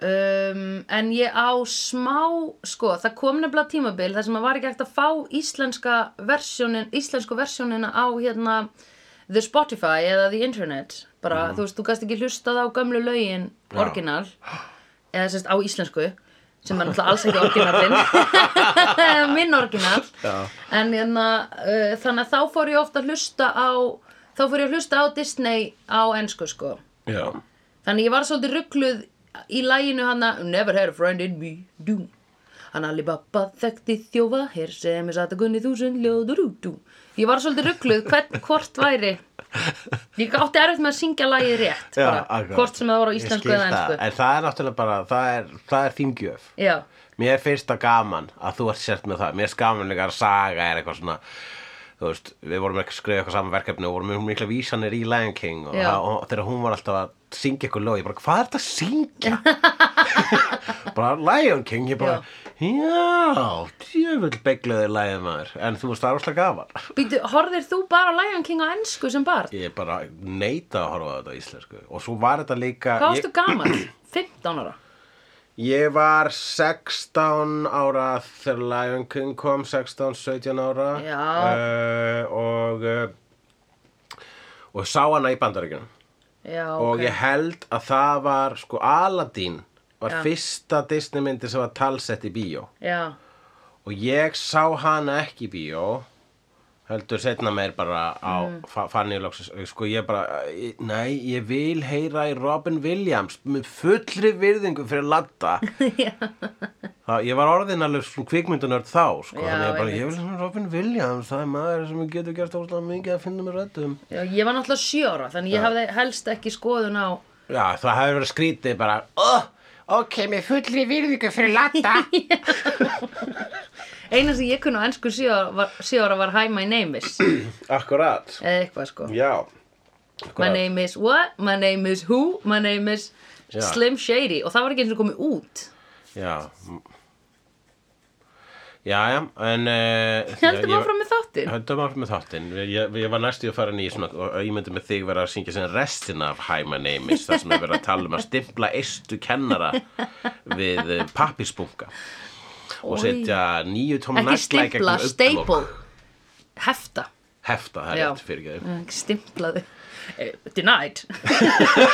Speaker 1: um, en ég á smá sko, það kom nefnilega tímabil þar sem að var ekki hægt að fá íslenska versjónin, íslensku versjónina á hérna the Spotify eða the internet bara, þú veist, þú gast ekki hlustað á gömlu lögin
Speaker 2: Já.
Speaker 1: orginal eða sérst á íslensku sem er náttúrulega alls ekki orginalinn minn orginal
Speaker 2: Já.
Speaker 1: en hérna, uh, þannig að þá fór ég ofta að hlusta á þá fór ég að hlusta á Disney á ensku sko
Speaker 2: já
Speaker 1: Þannig ég var svolítið ruggluð í læginu hana Never had a friend in me do. Hann Alibaba þekkti þjófa hér sem er satt að gunni þúsund ljóður út dú. Ég var svolítið ruggluð hvern, hvort væri Ég átti erfitt með að syngja lægið rétt bara,
Speaker 2: akkurat.
Speaker 1: Hvort sem það voru á
Speaker 2: Ég
Speaker 1: íslensku
Speaker 2: skil
Speaker 1: eða
Speaker 2: það,
Speaker 1: ennsku
Speaker 2: En það er náttúrulega bara, það er, það er þingjöf
Speaker 1: Já,
Speaker 2: Mér finnst það gaman að þú ert sért með það Mér finnst gaman líka að saga er eitthvað svona Þú veist, við vorum ekki að skrifa eitthvað saman verkefni og vorum með mikla vísanir í Lion King og,
Speaker 1: Já.
Speaker 2: það, og þegar hún var alltaf að syngja eitthvað lög, ég bara, hvað er þetta að syngja? bara Lion King, ég bara, já, djöfull begluði lægið maður, en þú veist, það er óslega gaman.
Speaker 1: býtu, horfðir þú bara á Lion King á ennsku sem barn?
Speaker 2: Ég bara neita að horfa á þetta á íslensku og svo var þetta líka...
Speaker 1: Hvað
Speaker 2: ég-
Speaker 1: varstu gaman? 15 ára
Speaker 2: Ég var 16 ára þegar Lion King kom, 16, 17 ára
Speaker 1: Já.
Speaker 2: uh, og, uh, og sá hana í bandaríkjunum
Speaker 1: Já,
Speaker 2: og
Speaker 1: ok
Speaker 2: ég held að það var sko Aladdin var fyrsta Disney myndi sem var talsett í bíó
Speaker 1: Já,
Speaker 2: og ég sá hana ekki í bíó heldur setna meir bara á mm. fann ég loksins sko ég bara, eh, nei, ég vil heyra í Robin Williams með fullri virðingu fyrir Latta það, ég var orðin alveg svona kvikmyndunörd þá sko,
Speaker 1: Já,
Speaker 2: þannig ég bara,
Speaker 1: einmitt.
Speaker 2: ég vil svona Robin Williams það er maður sem ég getur gert óslega mikið að finna mér röddum
Speaker 1: Já, ég var náttúrulega 7 ára Þannig ég hafði helst ekki skoðun á
Speaker 2: já, það hefur verið skrítið bara, oh, ok, með fullri virðingu fyrir Latta
Speaker 1: Eina sem ég kunni á ennsku síðara var, síðara var Hi my name is
Speaker 2: akkurat,
Speaker 1: eða eitthvað sko
Speaker 2: já
Speaker 1: My
Speaker 2: akkurat.
Speaker 1: name is what, my name is who, my name is
Speaker 2: Já.
Speaker 1: Slim Shady og það var ekki eins og komið út
Speaker 2: Já m- Já, já, en uh,
Speaker 1: Heldum áfram með þáttinn
Speaker 2: Höldum áfram með þáttinn Ég, ég, ég var næstu að fara ný svona, og ég myndi með þig vera að syngja sem restina af Hi My Name Is þar sem er verið að tala um að stimpla eistu kennara við pappispunga og
Speaker 1: Oj.
Speaker 2: setja nýju tóma
Speaker 1: Ekki
Speaker 2: nagla í
Speaker 1: stimpla,
Speaker 2: gegnum
Speaker 1: staple
Speaker 2: augnlok.
Speaker 1: Hefta
Speaker 2: Hefta, það er
Speaker 1: Já.
Speaker 2: rétt fyrir ekki
Speaker 1: Eh, Stimplaði Eh, Denied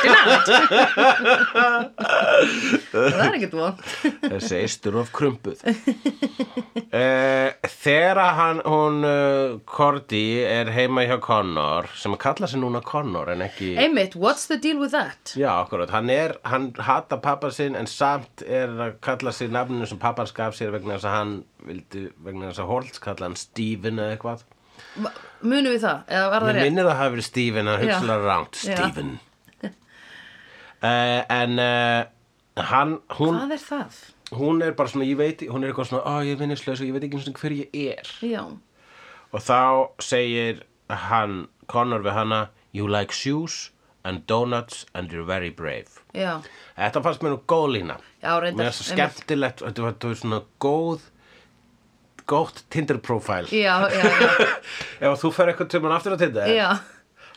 Speaker 1: Denied Það er ekkert von
Speaker 2: þessi eistur of krumpuð uh, þegar að hann, hún uh, Cordy er heima hjá Connor sem að kalla sig núna Connor en ekki
Speaker 1: Einmitt, what's the deal with that?
Speaker 2: já, akkurat, hann er, hann hata pappa sinn en samt er að kalla sig nafninu sem pappan skaf sér vegna þess að hann vildi, vegna þess að Holtz kalla hann Steven eða eitthvað
Speaker 1: M- Munum við það? Eða var það
Speaker 2: Mér
Speaker 1: rétt?
Speaker 2: minnir að það hafi verið Steven en
Speaker 1: Já.
Speaker 2: hugsalega rámt
Speaker 1: Já.
Speaker 2: Steven uh, en uh, hann, hún
Speaker 1: Hvað er það?
Speaker 2: hún er bara svona, ég veit, hún er eitthvað svona ó, ég er vinnislaus og ég veit ekki einu sinni hver ég er
Speaker 1: Já
Speaker 2: og þá segir hann, Connor við hana you like shoes and donuts and you're very brave
Speaker 1: Já,
Speaker 2: þetta fannst mér nú góð lína
Speaker 1: Já, reyndar,
Speaker 2: mér er svo
Speaker 1: einmitt.
Speaker 2: skemmtilegt, þetta var- þetta var svona góð gótt Tinder profile
Speaker 1: já, já, já,
Speaker 2: ef að þú fer eitthvað til mann aftur á Tinder
Speaker 1: já.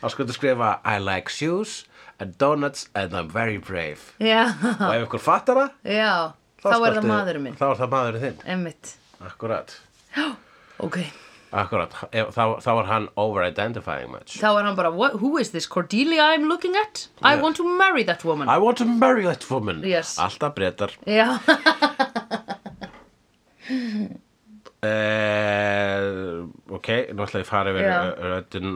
Speaker 2: þá sko þetta skrifa I like shoes and donuts and I'm very brave
Speaker 1: Já,
Speaker 2: og ef ykkur fattar það
Speaker 1: já, þá er það maðurinn minn,
Speaker 2: þá er það maðurinn þinn,
Speaker 1: emmitt,
Speaker 2: akkurat
Speaker 1: ok,
Speaker 2: Akkurat, ef- þá, þá var hann over-identifying much.
Speaker 1: þá er hann bara, "What- who is this Cordelia I'm looking at? I
Speaker 2: Yeah.
Speaker 1: want to marry that woman.
Speaker 2: I want to marry that woman.
Speaker 1: Yes.
Speaker 2: Alltaf breytar.
Speaker 1: Já,
Speaker 2: Uh, ok, nú ætla ég að fara yfir eh,
Speaker 1: Já.
Speaker 2: yeah. röddinn,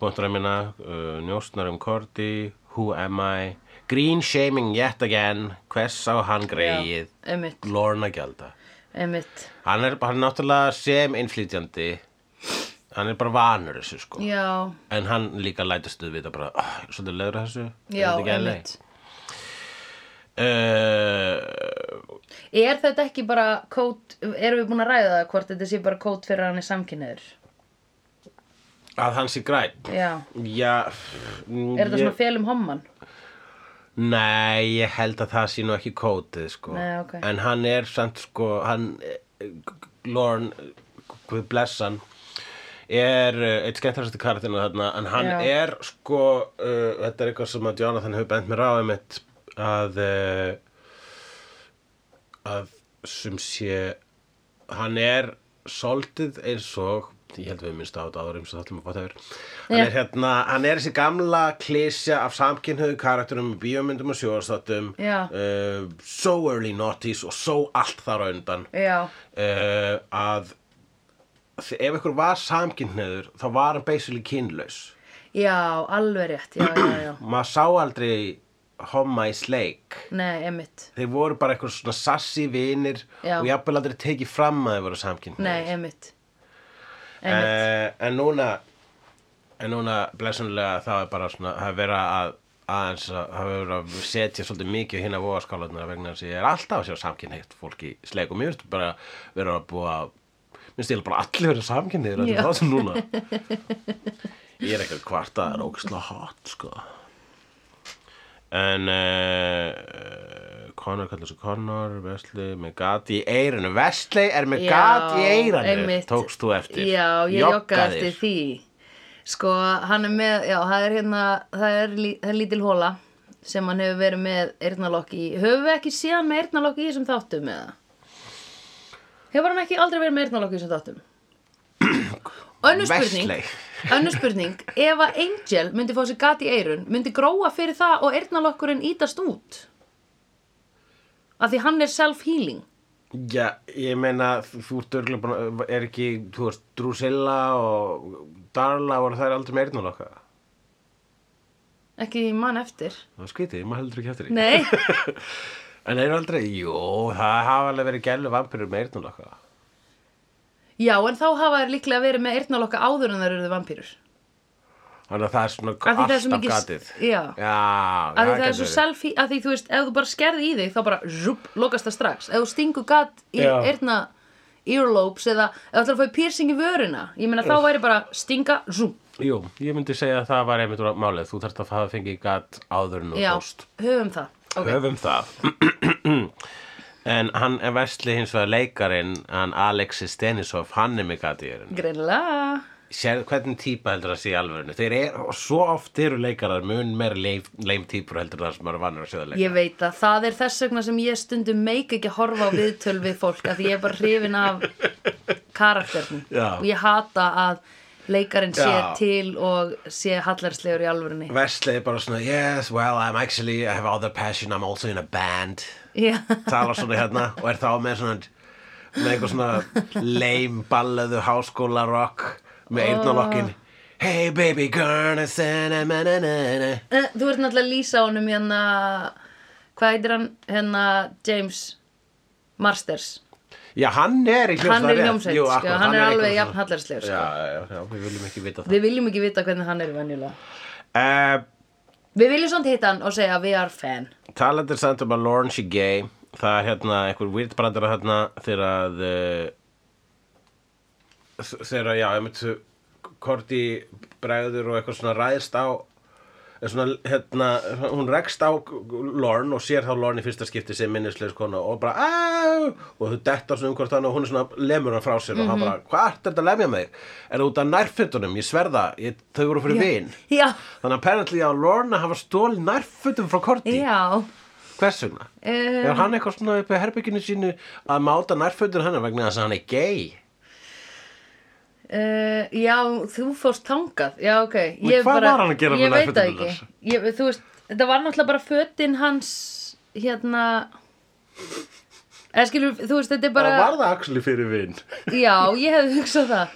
Speaker 2: bóttur að minna, uh, njóstnar um Korti, Who am I, Green shaming yet again, Hvers á hann greið,
Speaker 1: emmitt,
Speaker 2: Lorna Gjalda.
Speaker 1: emmitt,
Speaker 2: Hann er, hann er náttúrulega sem innflytjandi hann er bara vanur þessu sko
Speaker 1: já,
Speaker 2: en hann líka lætist við vita bara oh, svolítið lögur þessu er
Speaker 1: já,
Speaker 2: þetta ekki LA?"
Speaker 1: einmitt.
Speaker 2: Eh,
Speaker 1: Er þetta ekki bara kót, erum við búin að ræða það hvort þetta sé bara kót fyrir að hann er samkynniður?
Speaker 2: að hann sé græn
Speaker 1: Já,
Speaker 2: já
Speaker 1: er þetta svona félum homman?
Speaker 2: Nei, ég held að það sé nú ekki kótið sko.
Speaker 1: Nei, ok.
Speaker 2: En hann er samt sko, hann, Lorne, hvað blessan, er eh, eitt skemmtlæsasti kartinu þarna, en hann
Speaker 1: Já.
Speaker 2: er sko, uh, þetta er eitthvað sem að Jonathan hefur bent mér á einmitt, að, uh, að sem sé, hann er soldið eins og, ég held við minnst á þetta áður eins og þáttum að báta yfir, hann
Speaker 1: Já.
Speaker 2: er hérna, hann er þessi gamla klísja af samkynhauðu karakterum í bíómyndum og sjóðarstáttum
Speaker 1: Já.
Speaker 2: uh, so early noughties og so allt þar á undan
Speaker 1: Já,
Speaker 2: uh, að þ- ef ykkur var samkynhauður þá var hann basically kynlaus
Speaker 1: já, alveg rétt, já, já, já.
Speaker 2: maður sá aldrei homma í sleik
Speaker 1: Nei, emitt,
Speaker 2: þeir voru bara eitthvað svona sassi vinir
Speaker 1: Já.
Speaker 2: og jafnvel aldrei tekið fram að þeir voru samkynhauður
Speaker 1: nei, emitt. Emitt,
Speaker 2: Eh, en núna en núna blessunlega það er bara svona það er verið að aðeins að það er verið að setja svolítið mikið hinn að voga skálanar vegna þess að ég er alltaf að sjá samkynheitt fólk í sleik og mér finnst bara verið að búa minnst ég bara allir verið samkynheitt
Speaker 1: Já.
Speaker 2: þetta er það sem núna ég er ekki að kvarta það er ógislega hot sko en uh, Connor kallar svo Connor Vesli með gat í eirinu Vesli er með
Speaker 1: Já,
Speaker 2: gat í eirinu
Speaker 1: einmitt.
Speaker 2: tókst þú eftir
Speaker 1: já, ég jogga
Speaker 2: Joggaðir.
Speaker 1: eftir því. Sko, hann er með, já, það er hérna, það er, lí, það er lítil hóla sem hann hefur verið með eyrnalokk í. Höfum við ekki síðan með eyrnalokk í þessum þáttum eða? Hefur hann ekki aldrei verið með eyrnalokk í þessum þáttum? Önnur spurning,
Speaker 2: Wesley.
Speaker 1: önnur spurning, ef að Angel myndi fá sér gat í eirun, myndi gróa fyrir það og eyrnalokkurinn ítast út? Af því hann er self-healing.
Speaker 2: já, ég meina þú þú ert örgulega búin að- er ekki, þú veist, Drusilla og Darla voru þær aldrei með eirnalokka
Speaker 1: Ekki því mann eftir.
Speaker 2: það er skrítið, maður heldur ekki eftir því
Speaker 1: Nei,
Speaker 2: en er aldrei, jú, það hafa alveg verið gælu vampirur með eirnalokka
Speaker 1: já, en þá hafa þær líklega verið með eyrnalokka áður en þær eruðu vampýrur.
Speaker 2: þannig að það er svona
Speaker 1: því það er
Speaker 2: alltaf
Speaker 1: svo mikið-
Speaker 2: gatið
Speaker 1: já.
Speaker 2: já
Speaker 1: Af því það er
Speaker 2: gæti
Speaker 1: svo
Speaker 2: verið.
Speaker 1: selfie, af því þú veist, ef þú bara skerði í þig, þá bara zhup, lokast það strax. Ef þú stingur gat í
Speaker 2: Já.
Speaker 1: eyrna earlobes eða ef þú ætlar að fá í piercing í vörina, ég meina þá væri bara stinga, zhup,
Speaker 2: Jú, ég myndi segja að það var einmitt úr málið. Þú þarft að hafa fengið gat áður en þú
Speaker 1: já,
Speaker 2: tóst.
Speaker 1: höfum það. Ok.
Speaker 2: Höfum það. en hann er vestli hins vegar leikarinn, hann Alexis Denisov, hann er með gat í erinu.
Speaker 1: Greinlega.
Speaker 2: Sér hvernig típa heldur það sé í alvörinu? Þeir eru, og svo oft eru leikarar mun meira leim, leim típur heldur en það sem eru vannur að séða leikar.
Speaker 1: Ég veit að það er þess vegna sem ég stundum meik ekki að horfa á viðtöl við fólk af því ég er bara hrifin af karakterinn
Speaker 2: Já.
Speaker 1: og ég hata að leikarinn sé
Speaker 2: Já.
Speaker 1: til og sé hallarslegur í alvörinni
Speaker 2: Vestli er bara svona, yes, well, I'm actually, I have other passion, I'm also in a band.
Speaker 1: Já,
Speaker 2: talar svona hérna og er þá með svona með eitthvað svona leim ballöðu háskóla rock með eyrnalokkin
Speaker 1: Ah.
Speaker 2: Hey baby gonna send a na na na na
Speaker 1: Eh, þú ert náttúrulega að lýsa honum hérna hvað heitir hann hérna James Marsters
Speaker 2: Já, hann er í hljómsveit
Speaker 1: hann er í hljómsveit, sko, hann, er alveg jafn
Speaker 2: Já,
Speaker 1: hallarslegur sko.
Speaker 2: já, já, við viljum ekki vita það
Speaker 1: Við viljum ekki vita hvernig hann er venjulega
Speaker 2: uh,
Speaker 1: Við viljum svona hitta hann og segja we are fan
Speaker 2: Talandir samt um að Lauren she gay Það er hérna einhver weird brandara hérna þegar að eh, þegar að, já, ég myndi Korti bregður og eitthvað svona ræðist á er svona, hérna, hún rekst á Lorne og sér þá Lorne í fyrsta skipti sem minnisleis kona og bara "Á!" og þau detta svona um hvort hann og hún er svona lemur hann frá sér og
Speaker 1: Mhm.
Speaker 2: hann bara, hvað ertu þetta að lemja mig? Er það út af nærfötunum? Ég sverða, ég, þau voru fyrir vin
Speaker 1: Já,
Speaker 2: Þannig að apparently á Lorne að hafa stól nærfötum frá Korti
Speaker 1: já
Speaker 2: Hvers vegna?
Speaker 1: Um,
Speaker 2: er hann eitthvað svona upp í herbygginu sínu að máta nærfötur hennar vegna þess að hann er gay?
Speaker 1: Uh, já, þú fórst tangað Já, ok
Speaker 2: Men
Speaker 1: Ég
Speaker 2: hvað
Speaker 1: bara-
Speaker 2: var hann að gera með
Speaker 1: Ég veit það
Speaker 2: nærfötunum
Speaker 1: ekki
Speaker 2: hans?
Speaker 1: ég, Þú veist, þetta var náttúrulega bara fötin hans Hérna Eða skilur, þú veist, þetta er bara
Speaker 2: Það var það axli fyrir vinn.
Speaker 1: Já, ég hefði hugsað það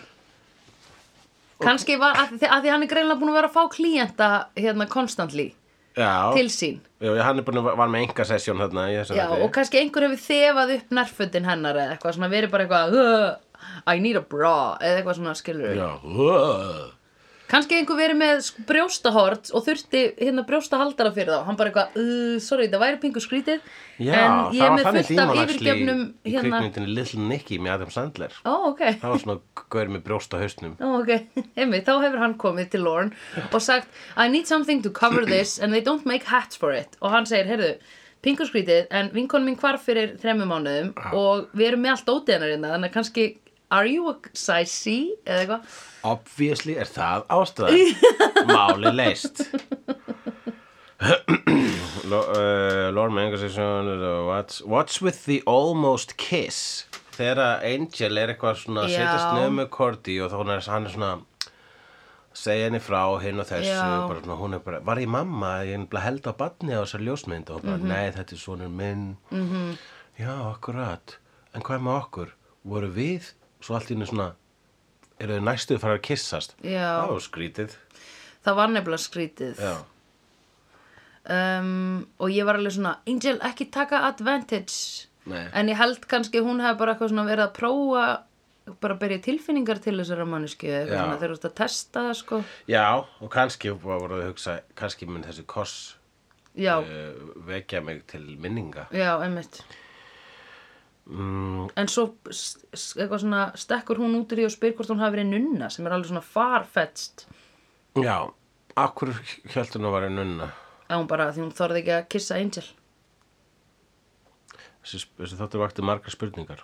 Speaker 1: Kanski var, að því, að því hann er greinlega búin að vera að fá klíenta Hérna, konstantli
Speaker 2: Já,
Speaker 1: Til sín
Speaker 2: já, hann er búin að var með enga sessjón hérna í þessum
Speaker 1: Já, og kannski einhver hefur þefað upp nærfötin hennar Eða eitthvað, svona verið bara eitthvað uh, I need a bra eða eitthvað svona skilur
Speaker 2: Já, uh,
Speaker 1: kannski einhver verið með sk- brjóstahort og þurfti hérna brjóstahaldara fyrir þá hann bara eitthvað, uh, sorry, það væri pingu skrítið
Speaker 2: já
Speaker 1: en ég
Speaker 2: það
Speaker 1: er
Speaker 2: var
Speaker 1: með
Speaker 2: þannig
Speaker 1: fullt af
Speaker 2: tíman axli í,
Speaker 1: yfirgefnum
Speaker 2: í
Speaker 1: hérna,
Speaker 2: kvikmyndinni Little Nicky með Adam Sandler
Speaker 1: ó, ok
Speaker 2: það var svona gaur með brjóst á hausnum
Speaker 1: Ó, ok, einmitt, þá hefur hann komið til Lorne og sagt I need something to cover this and they don't make hats for it og hann segir, heyrðu, pingu skrítið en vinkonum mín hvarf fyrir þremmu mánuðum og við erum með allt ótið hennar hérna þannig að kannski, are you a size C eða eitthvað
Speaker 2: Obviously er það ástæðan Máli leist Lo- uh, Lord Mangasson what's, what's with the almost kiss Þegar að Angel er eitthvað svona að
Speaker 1: Já.
Speaker 2: setjast nefn með Cordy og þá hún er, hann er svona segja henni frá hinn og þessu
Speaker 1: Já.
Speaker 2: bara, svona, hún er bara, var ég mamma ég nefnilega held á badni á þessar ljósmynd og hún bara,
Speaker 1: Mhm.
Speaker 2: nei þetta er svonur minn -hmm. já, akkurat en hvað með okkur, voru við svo allt í henni svona eru þau næstu að fara að kyssast
Speaker 1: Já.
Speaker 2: Þá er skrítið
Speaker 1: það var nefnilega skrítið
Speaker 2: já.
Speaker 1: um, og ég var alveg svona Angel, ekki taka advantage
Speaker 2: Nei.
Speaker 1: en ég held kannski hún hefði bara eitthvað svona verið að prófa bara að byrja tilfinningar til þessara manneski
Speaker 2: Já.
Speaker 1: eða eitthvað svona þegar þú ert að testa það sko
Speaker 2: já, og kannski voru þau að hugsa kannski mun þessi koss
Speaker 1: já,
Speaker 2: uh, vekja mig til minninga
Speaker 1: já, einmitt
Speaker 2: mm,
Speaker 1: en svo s- s- eitthvað svona stekkur hún út úr því og spyr hvort hún hafi verið nunna sem er alveg svona farfetst
Speaker 2: já, akkur hjöldur nú var en nunna
Speaker 1: að hún bara því hún þorði ekki að kissa Angel
Speaker 2: þessi, þessi þáttur vakti margar spurningar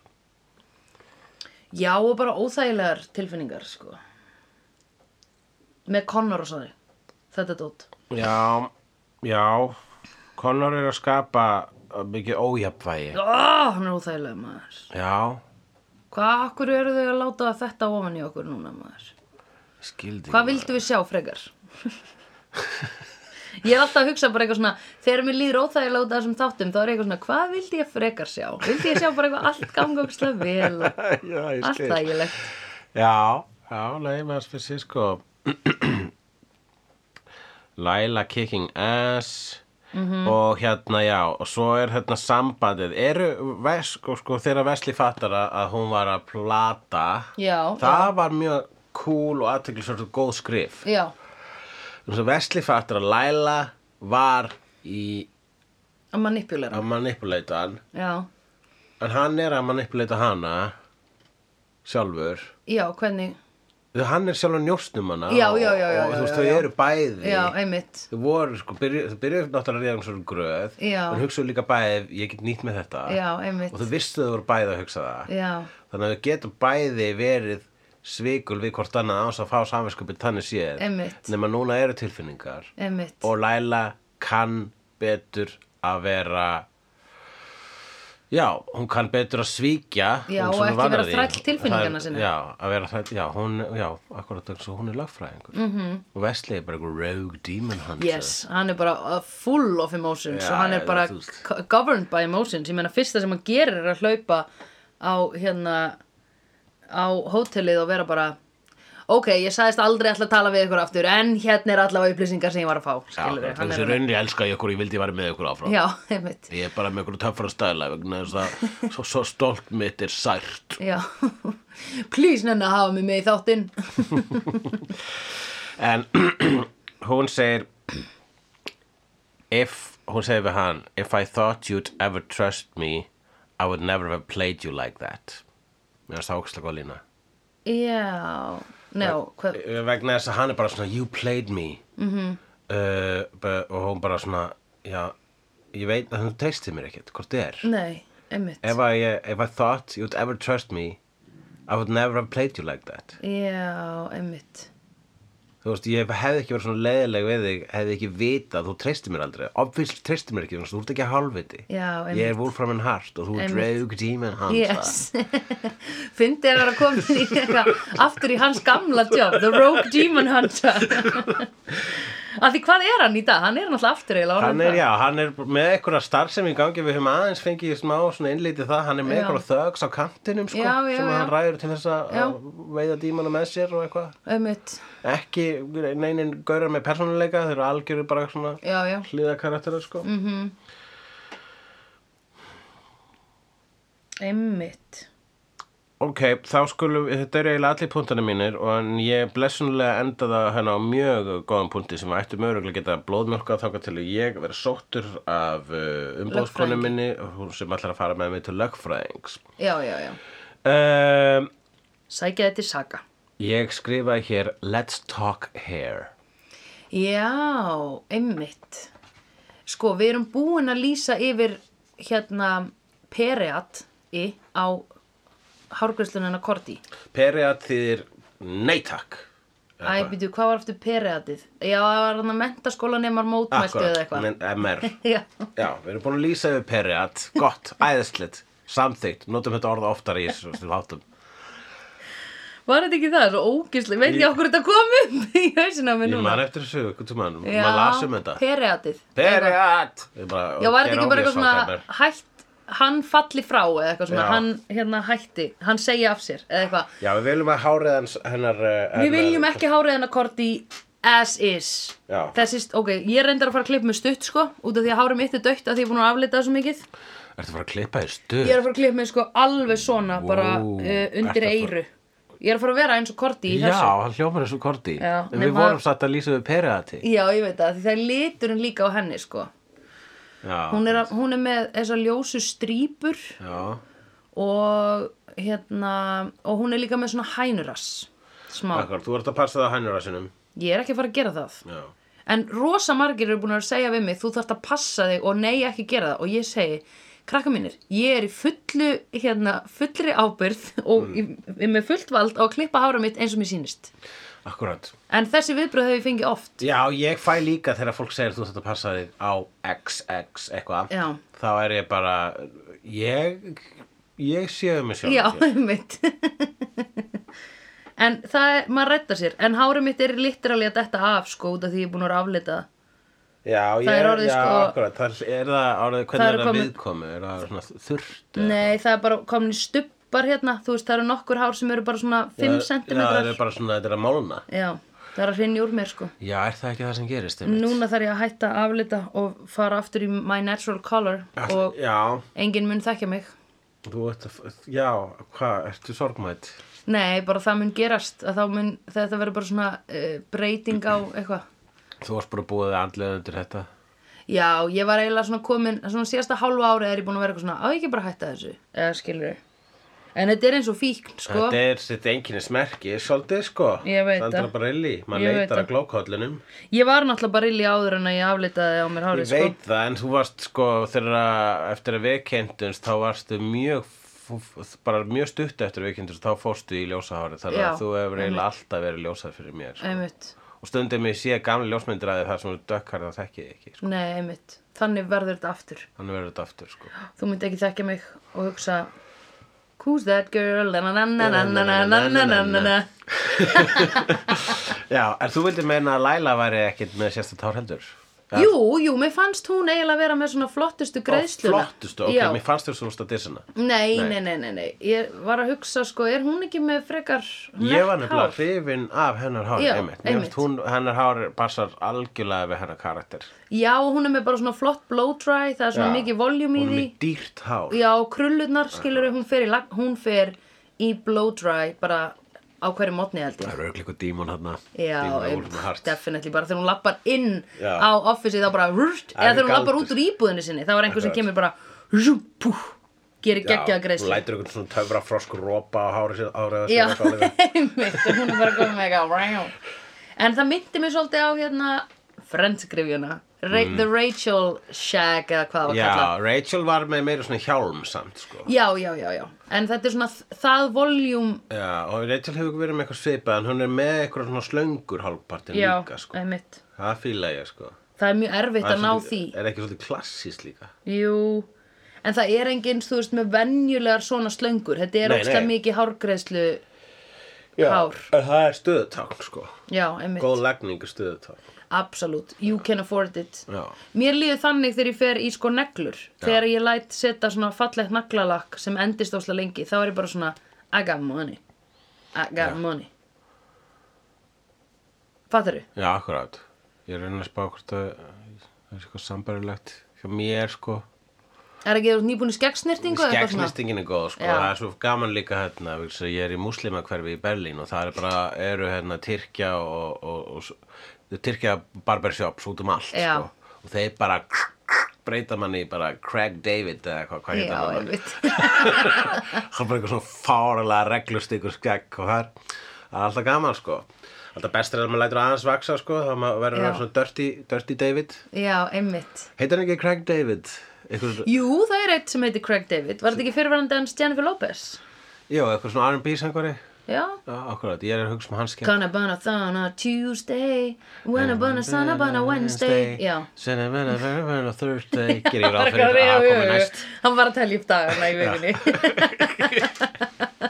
Speaker 1: já og bara óþægilegar tilfinningar sko með Connor og svona þetta dót
Speaker 2: já, já Connor er að skapa uh, mikið ójafnvægi
Speaker 1: Ó, hann er óþægilega Ah, maður
Speaker 2: já,
Speaker 1: Hvað, akkur eru þau að láta þetta ofan í okkur núna, maður?
Speaker 2: skildi
Speaker 1: Hvað vildu við sjá frekar? ég er alltaf að hugsa bara eitthvað svona, þegar mér líður óþægilega út af þessum þáttum, þá er ég eitthvað svona, hvað vildi ég frekar sjá? Vildi ég sjá bara eitthvað allt ganga ógislega vel og
Speaker 2: já, ég
Speaker 1: allt
Speaker 2: skil
Speaker 1: þægilegt?
Speaker 2: Já, já, nei, með hans fyrir sér sko Laila kicking ass og hérna, já, og svo er hérna sambandið, eru ves, sko, sko, þegar Vesli fattar að að hún var að plata
Speaker 1: Já,
Speaker 2: það var mjög cool og aðteklisvöld og góð skrif
Speaker 1: Já,
Speaker 2: þess að Vesli fattar að Laila var í
Speaker 1: að manipulera.
Speaker 2: að manipuleita hann
Speaker 1: Já,
Speaker 2: en hann er að manipuleita hana sjálfur
Speaker 1: já, hvernig,
Speaker 2: Þú, hann er sjálf að njóstnum hana
Speaker 1: Já,
Speaker 2: og-
Speaker 1: já, já, já,
Speaker 2: og þú veist,
Speaker 1: já,
Speaker 2: þau
Speaker 1: já.
Speaker 2: eru bæði
Speaker 1: já, einmitt.
Speaker 2: þau voru, sko, byrju- þau byrjuðu náttúrulega að reyða um svona gröð
Speaker 1: Já.
Speaker 2: en hugsaðu líka bæði, ég get nýtt með þetta
Speaker 1: Já, einmitt.
Speaker 2: og þau vistu þau voru bæði að hugsa það
Speaker 1: Já,
Speaker 2: þannig að þau getur bæði verið svikul við hvort annað án þess að fá samviskupið þannig séð
Speaker 1: Einmitt.
Speaker 2: nema núna eru tilfinningar
Speaker 1: einmitt.
Speaker 2: og Laila kann betur að vera já, hún kann betur að svíkja
Speaker 1: Já,
Speaker 2: hún
Speaker 1: og
Speaker 2: svona
Speaker 1: ekki
Speaker 2: vanar
Speaker 1: vera
Speaker 2: því.
Speaker 1: þræll tilfinninganna
Speaker 2: Það er-
Speaker 1: sinna.
Speaker 2: já, að vera þræll, já, hún, já, akkurat eins og hún er lagfræðingur mm -hmm. og Wesley er bara einhver rogue demon hunter
Speaker 1: Mhm. Yes, hann er bara uh, full of emotions
Speaker 2: Já,
Speaker 1: og hann er
Speaker 2: eða
Speaker 1: bara
Speaker 2: þú veist.
Speaker 1: co- governed by emotions. Ég meina fyrsta sem hann gerir er að hlaupa á hérna á hótelið og vera bara ok, ég sagðist aldrei ætla að tala við ykkur aftur en hérna er allavega upplýsingar sem ég var að fá
Speaker 2: já,
Speaker 1: skilurðu,
Speaker 2: það er þessi sko. raunri elska ég okkur, ég vildi ég vera með okkur áfram
Speaker 1: Já, einmitt
Speaker 2: ég er bara með okkur töffara stæla vegna þess að svo, svo stolt mitt er sært
Speaker 1: Já, please nenni að hafa mig með í þáttinn
Speaker 2: en hún segir if, hún segir við hann if I thought you'd ever trust me I would never have played you like that mér finnst það ákslega góð lína
Speaker 1: Já, njá, hvað
Speaker 2: Eh, vegna þess að hann er bara svona you played me mm -hmm. og hún bara svona já, ég veit að hún teistir mér ekkert hvort þið er
Speaker 1: Nei, einmitt
Speaker 2: if I, eh, if I thought you'd ever trust me I would never have played you like that
Speaker 1: Já, einmitt
Speaker 2: þú veist, ég hefði ekki verið svona leiðileg við þig hefði ekki vitað, þú treystir mér aldrei obviously treystir mér ekki, þú veist, þú ert ekki að hálfviti
Speaker 1: Já, einmitt.
Speaker 2: ég er Wolfram and Hart og þú er
Speaker 1: Einmitt.
Speaker 2: Draug Demon Hunter
Speaker 1: Yes Fyndi að vera komin í eitthvað aftur í hans gamla job The Rogue Demon Hunter Af því hvað er hann í dag? Hann er náttúrulega aftur eiginlega
Speaker 2: hann
Speaker 1: orðinn
Speaker 2: er,
Speaker 1: það.
Speaker 2: já, hann er með einhverja starfsemi í gangi við höfum aðeins fengið smá svona innlítið það, hann er með
Speaker 1: Já.
Speaker 2: einhverja þögs á kantinum sko,
Speaker 1: Já, já,
Speaker 2: sem
Speaker 1: já.
Speaker 2: hann ræður til þess að
Speaker 1: Já.
Speaker 2: að veiða dímana með sér og eitthvað
Speaker 1: Einmitt,
Speaker 2: ekki, neinin gaurar með persónuleika þeir eru algjöru bara svona
Speaker 1: já, já
Speaker 2: hliða karakterar sko mm.
Speaker 1: Einmitt
Speaker 2: ok, þá skulum, þetta eru eiginlega allir punktana mínir og en ég blessunlega enda það hérna á mjög góðan punkti sem við ættum mögulega að geta blóðmjölkað þangað til að ég vera sóttur af uh, umbóðskonu
Speaker 1: Lögfræðingi.
Speaker 2: minni hún sem ætlar að fara með mig til lögfræðings.
Speaker 1: já, já, já.
Speaker 2: Um,
Speaker 1: Sækja þetta í saga.
Speaker 2: ég skrifaði hér Let's Talk Hair.
Speaker 1: Já, einmitt. Sko, við erum búin að lýsa yfir hérna periat í á hárgræslunina Korti.
Speaker 2: Periat þýðir nei takk.
Speaker 1: Æ, býtu, hvað var eftir periatið? Já, það var hann að mentaskóla nemar mótmæltu eða
Speaker 2: Akkurat,
Speaker 1: eitthvað.
Speaker 2: men- MR.
Speaker 1: Já,
Speaker 2: Já, við erum búin að lýsa yfir periat, gott, æðislegt, samþygt, notum þetta orða oftar í þessu þessu þáttum.
Speaker 1: var þetta ekki það? Svo ógislega, veit ég okkur þetta kom upp í hausina á mér
Speaker 2: Ég
Speaker 1: núna.
Speaker 2: man eftir þessu, hvernig þú mann, maður lasum þetta.
Speaker 1: periatið.
Speaker 2: Periat!
Speaker 1: Já, var þetta ekki bara eitthvað svona hætt, hann falli frá eða eitthvað svona,
Speaker 2: Já.
Speaker 1: hann hérna hætti, hann segja af sér eða eitthvað.
Speaker 2: Já, við viljum að hárið hans, hennar... eh,
Speaker 1: Við
Speaker 2: hennar-
Speaker 1: viljum ekki háriðan að korti as is.
Speaker 2: Já.
Speaker 1: Þessist, ok, ég reyndar að fara að klippa með stutt sko, út af því að hárið mitt er dögt af því ég er búin að aflita það svo mikið.
Speaker 2: Ertu að fara að klippa þér stuð?
Speaker 1: Ég er að fara að klippa með sko alveg svona, bara
Speaker 2: Vó,
Speaker 1: uh, undir
Speaker 2: ertu að fara-
Speaker 1: eyru. Ég er að fara að vera eins og korti í
Speaker 2: Já,
Speaker 1: þessu.
Speaker 2: hann hljómar þessu korti.
Speaker 1: Já,
Speaker 2: En
Speaker 1: nei,
Speaker 2: við
Speaker 1: maður-
Speaker 2: vorum satt að lýsa yfir periati.
Speaker 1: Já, ég veit það, því það er liturinn líka á henni sko.
Speaker 2: Já,
Speaker 1: Hún er, að, hún er með þessar ljósu strípur
Speaker 2: já,
Speaker 1: og hérna, og hún er líka með svona hænurass. Smá.
Speaker 2: akkur, þú ert að passa það hænur að sinum.
Speaker 1: Ég er ekki að fara að gera það.
Speaker 2: Já,
Speaker 1: En rosa margir eru búin að segja við mig, þú þarft að passa þig og nei ekki gera það. Og ég segi, krakka mínir, ég er í fullu, hérna, fullri ábyrð og mm. ég, með fullt vald á að klippa hára mitt eins og mér sýnist.
Speaker 2: akkurat.
Speaker 1: En þessi viðbröð hef ég fengið oft.
Speaker 2: Já, ég fæ líka þegar fólk segir þú þetta passa þig á XX eitthvað
Speaker 1: Já.
Speaker 2: þá er ég bara ég, ég séu mig sjálf
Speaker 1: Já, mitt. en það er, maður rettar sér. En hára mitt er litteralið að detta af, sko, út af því ég er búin að vera aflitað.
Speaker 2: já, ég,
Speaker 1: Það er orðið
Speaker 2: já,
Speaker 1: sko-
Speaker 2: akkurat, það er, er það orðið, hvernig
Speaker 1: Það
Speaker 2: er
Speaker 1: er
Speaker 2: það
Speaker 1: komið-
Speaker 2: viðkomi er það svona þurft
Speaker 1: Nei, það er bara komin í stubbar hérna, þú veist, það eru nokkur hár sem eru bara svona 5 cm.
Speaker 2: Já, það er bara svona, þetta er að málna
Speaker 1: Já, það er að hrinja úr mér, sko.
Speaker 2: Já, er það ekki það sem gerist? einmitt?
Speaker 1: Núna þarf ég að hætta að aflita og fara aftur í My Natural Color
Speaker 2: Ah,
Speaker 1: og
Speaker 2: Já,
Speaker 1: enginn mun þekkja mig.
Speaker 2: þú ert að, já, hvað, ertu sorgmætt?
Speaker 1: Nei, bara það mun gerast að þá mun þetta verður bara svona uh, breyting á eitthvað.
Speaker 2: Þú varst bara búið andlega undir þetta
Speaker 1: Já, ég var eiginlega svona komin, svona síðasta hálfa árið er ég búin að vera eitthvað svona, á ég ekki bara að hætta þessu, eða skilur En þetta er eins og fíkn, sko.
Speaker 2: Þetta er sitt enginni smerki, svolítið sko
Speaker 1: Ég veit
Speaker 2: það
Speaker 1: það.
Speaker 2: Sandra Barilli,
Speaker 1: Ég
Speaker 2: maður
Speaker 1: veit
Speaker 2: leitar
Speaker 1: það.
Speaker 2: að glókóllunum
Speaker 1: Ég var náttúrulega bara illi áður en að ég aflitaði á mér
Speaker 2: Ég
Speaker 1: hárið, sko.
Speaker 2: veit það, en þú varst sko þegar að, eftir að við kynntumst þá varstu mjög f- f- bara mjög stutt eftir að við kynntumst þá fórstu í ljósahári þannig
Speaker 1: Já,
Speaker 2: að þú hefur eiginlega alltaf verið ljósað fyrir mér sko.
Speaker 1: Einmitt.
Speaker 2: og stundum ég sé gamli ljósmyndir að þér þar sem þú dökkar það þekki ég ekki sko.
Speaker 1: Nei, einmitt. Þannig verður þetta aftur.
Speaker 2: þannig verður þetta aftur sko.
Speaker 1: þú myndi ekki þekkja mig og hugsa Who's that girl? Na, na, na, na, na, na, na, na, na, na, na.
Speaker 2: Já, er þú vildi meina að Laila væri ekkit með sérsta tár heldur?
Speaker 1: Jú, jú, mér fannst hún eiginlega vera með svona flottustu greiðsluna
Speaker 2: Flottustu, ok,
Speaker 1: Já.
Speaker 2: mér fannst þér svona að dissina
Speaker 1: Nei, nei, nei, nei, nei, ég var að hugsa sko, er hún ekki með frekar
Speaker 2: Ég var
Speaker 1: nett
Speaker 2: nefnilega
Speaker 1: hár?
Speaker 2: hrifin af hennar hár,
Speaker 1: Já,
Speaker 2: einmitt. Mér
Speaker 1: einmitt.
Speaker 2: finnst Hún, hennar hár passar algjörlega við hennar karakter.
Speaker 1: Já, hún er með bara svona flott blow dry, það er svona
Speaker 2: Já.
Speaker 1: mikið voljum í
Speaker 2: Hún er
Speaker 1: því
Speaker 2: með dýrt hár.
Speaker 1: Já, krullurnar skilur hún fer, í, lag- hún fer í blow dry bara á hverju mótni held ég
Speaker 2: Það eru auðvitað eitthvað dímon hann
Speaker 1: Já,
Speaker 2: Dímon
Speaker 1: em,
Speaker 2: úr með hart
Speaker 1: definitely, bara þegar hún lappar inn
Speaker 2: Já.
Speaker 1: á officeið þá bara
Speaker 2: Það
Speaker 1: rrrt, eða
Speaker 2: er
Speaker 1: þegar hún lappar
Speaker 2: galdur.
Speaker 1: út úr íbúðinu sinni þá er einhver sem
Speaker 2: Akkurat.
Speaker 1: kemur bara rrrt, pú, gerir geggja
Speaker 2: Hún
Speaker 1: greiðslu
Speaker 2: lætur einhvern svona töfra frosk rópa á hárið sér árið
Speaker 1: Já,
Speaker 2: sér eitthvað alveg.
Speaker 1: einmitt, og hún er bara komið með eitthvað rrrrjá. En það myndi mér svolítið á hérna Friends-grifjuna Ra The Rachel Shag eða hvað það var
Speaker 2: Mm. Já,
Speaker 1: kallað
Speaker 2: Rachel var með meira svona hjálm samt sko.
Speaker 1: Já, já, já, já En þetta er svona þ- það voljum
Speaker 2: Já, og Rachel hefur verið með eitthvað svipað en hún er með eitthvað svona slöngur hálfpartin
Speaker 1: Já,
Speaker 2: líka sko.
Speaker 1: einmitt
Speaker 2: Það fíla ég sko.
Speaker 1: Það er mjög erfitt
Speaker 2: Það
Speaker 1: að ná
Speaker 2: svolítið-
Speaker 1: því
Speaker 2: Er ekki svolítið klassís líka?
Speaker 1: Jú, en það er enginn, þú veist, með venjulegar svona slöngur. Þetta er
Speaker 2: Nei,
Speaker 1: ógsta
Speaker 2: nei.
Speaker 1: mikið hárgreðslu,
Speaker 2: Já,
Speaker 1: Hár.
Speaker 2: en það er stöðutákn sko.
Speaker 1: já, einmitt,
Speaker 2: Góð lagning er stöðutákn.
Speaker 1: absolutt, you can afford it.
Speaker 2: Já.
Speaker 1: Mér líður þannig þegar ég fer í sko neglur, þegar ég læt setja svona fallegt naglalakk sem endist ósla lengi, þá er ég bara svona, I got money, I got money. Fattar þú?
Speaker 2: Já, akkurát. Ég er að reyna að spá hvort að það er eitthvað sambarilegt hjá mér sko.
Speaker 1: Er ekki þú ert nýbúin í skeggsnirtingu? eða eitthvað svona?
Speaker 2: Skeggsnistingin er góð, sko,
Speaker 1: Já.
Speaker 2: það er svo gaman líka hérna, vegna þess að ég er í muslimakverfi í Berlín og það er bara, eru hérna Tyrkja og, og, og, og Tyrkja barbershops út um allt,
Speaker 1: Já.
Speaker 2: sko, og þeir bara breyta manni í bara Craig David eða hvað, hvað
Speaker 1: Já,
Speaker 2: heita manni
Speaker 1: einmitt.
Speaker 2: það er bara eitthvað svona fáralega reglustikur skegg og það er, það er alltaf gaman sko alltaf bestur er að maður lætur aðeins vaksa sko þá maður verður
Speaker 1: Já.
Speaker 2: hann svona dirty, dirty David
Speaker 1: Já, einmitt.
Speaker 2: heitir hann ekki Craig David? Eitthvað,
Speaker 1: Jú, það er eitt sem heitir Craig David. Var þetta ekki fyrirverandi hans Jennifer Lopez?
Speaker 2: jú, eitthvað svona R&B sangari
Speaker 1: Já.
Speaker 2: já, akkurat, ég er að hugsa um hans skegg
Speaker 1: Gonna bana thana Tuesday, when a bana sana bana Wednesday. Já.
Speaker 2: Sunday, Monday, Wednesday, Thursday Ger ég ráð
Speaker 1: Já,
Speaker 2: fyrir
Speaker 1: já,
Speaker 2: að
Speaker 1: já,
Speaker 2: koma
Speaker 1: já.
Speaker 2: næst
Speaker 1: Hann var að telja upp dagana í vikunni.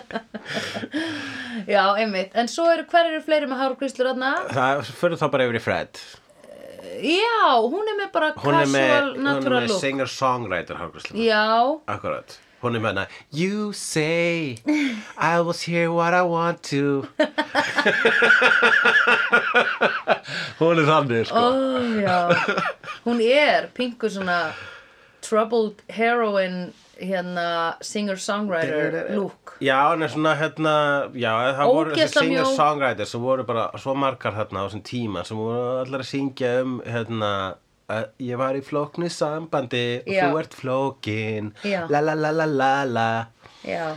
Speaker 1: Já, einmitt. En svo eru, hver eru fleiri með hárkvíslur aðna?
Speaker 2: Það fyrir þá bara yfir í Fred
Speaker 1: Já, hún er með bara
Speaker 2: Hún er með,
Speaker 1: casual,
Speaker 2: hún er
Speaker 1: natural
Speaker 2: með
Speaker 1: look.
Speaker 2: singer-songwriter hárgræslu
Speaker 1: Já,
Speaker 2: Akkurat, hún er með hana You say I was here what I want to Hún er þannig sko
Speaker 1: Ó, já. Hún er pingu svona troubled heroin hérna singer-songwriter look.
Speaker 2: Já, hann er svona hérna Já, það voru þessi
Speaker 1: Ógeðslega mjó-
Speaker 2: singer-songwriter sem voru bara svo margar hérna á þessum tíma sem voru allar að syngja um hérna að ég var í flóknu sambandi og
Speaker 1: Já.
Speaker 2: þú ert flókin
Speaker 1: Já.
Speaker 2: la la la la la la
Speaker 1: Já.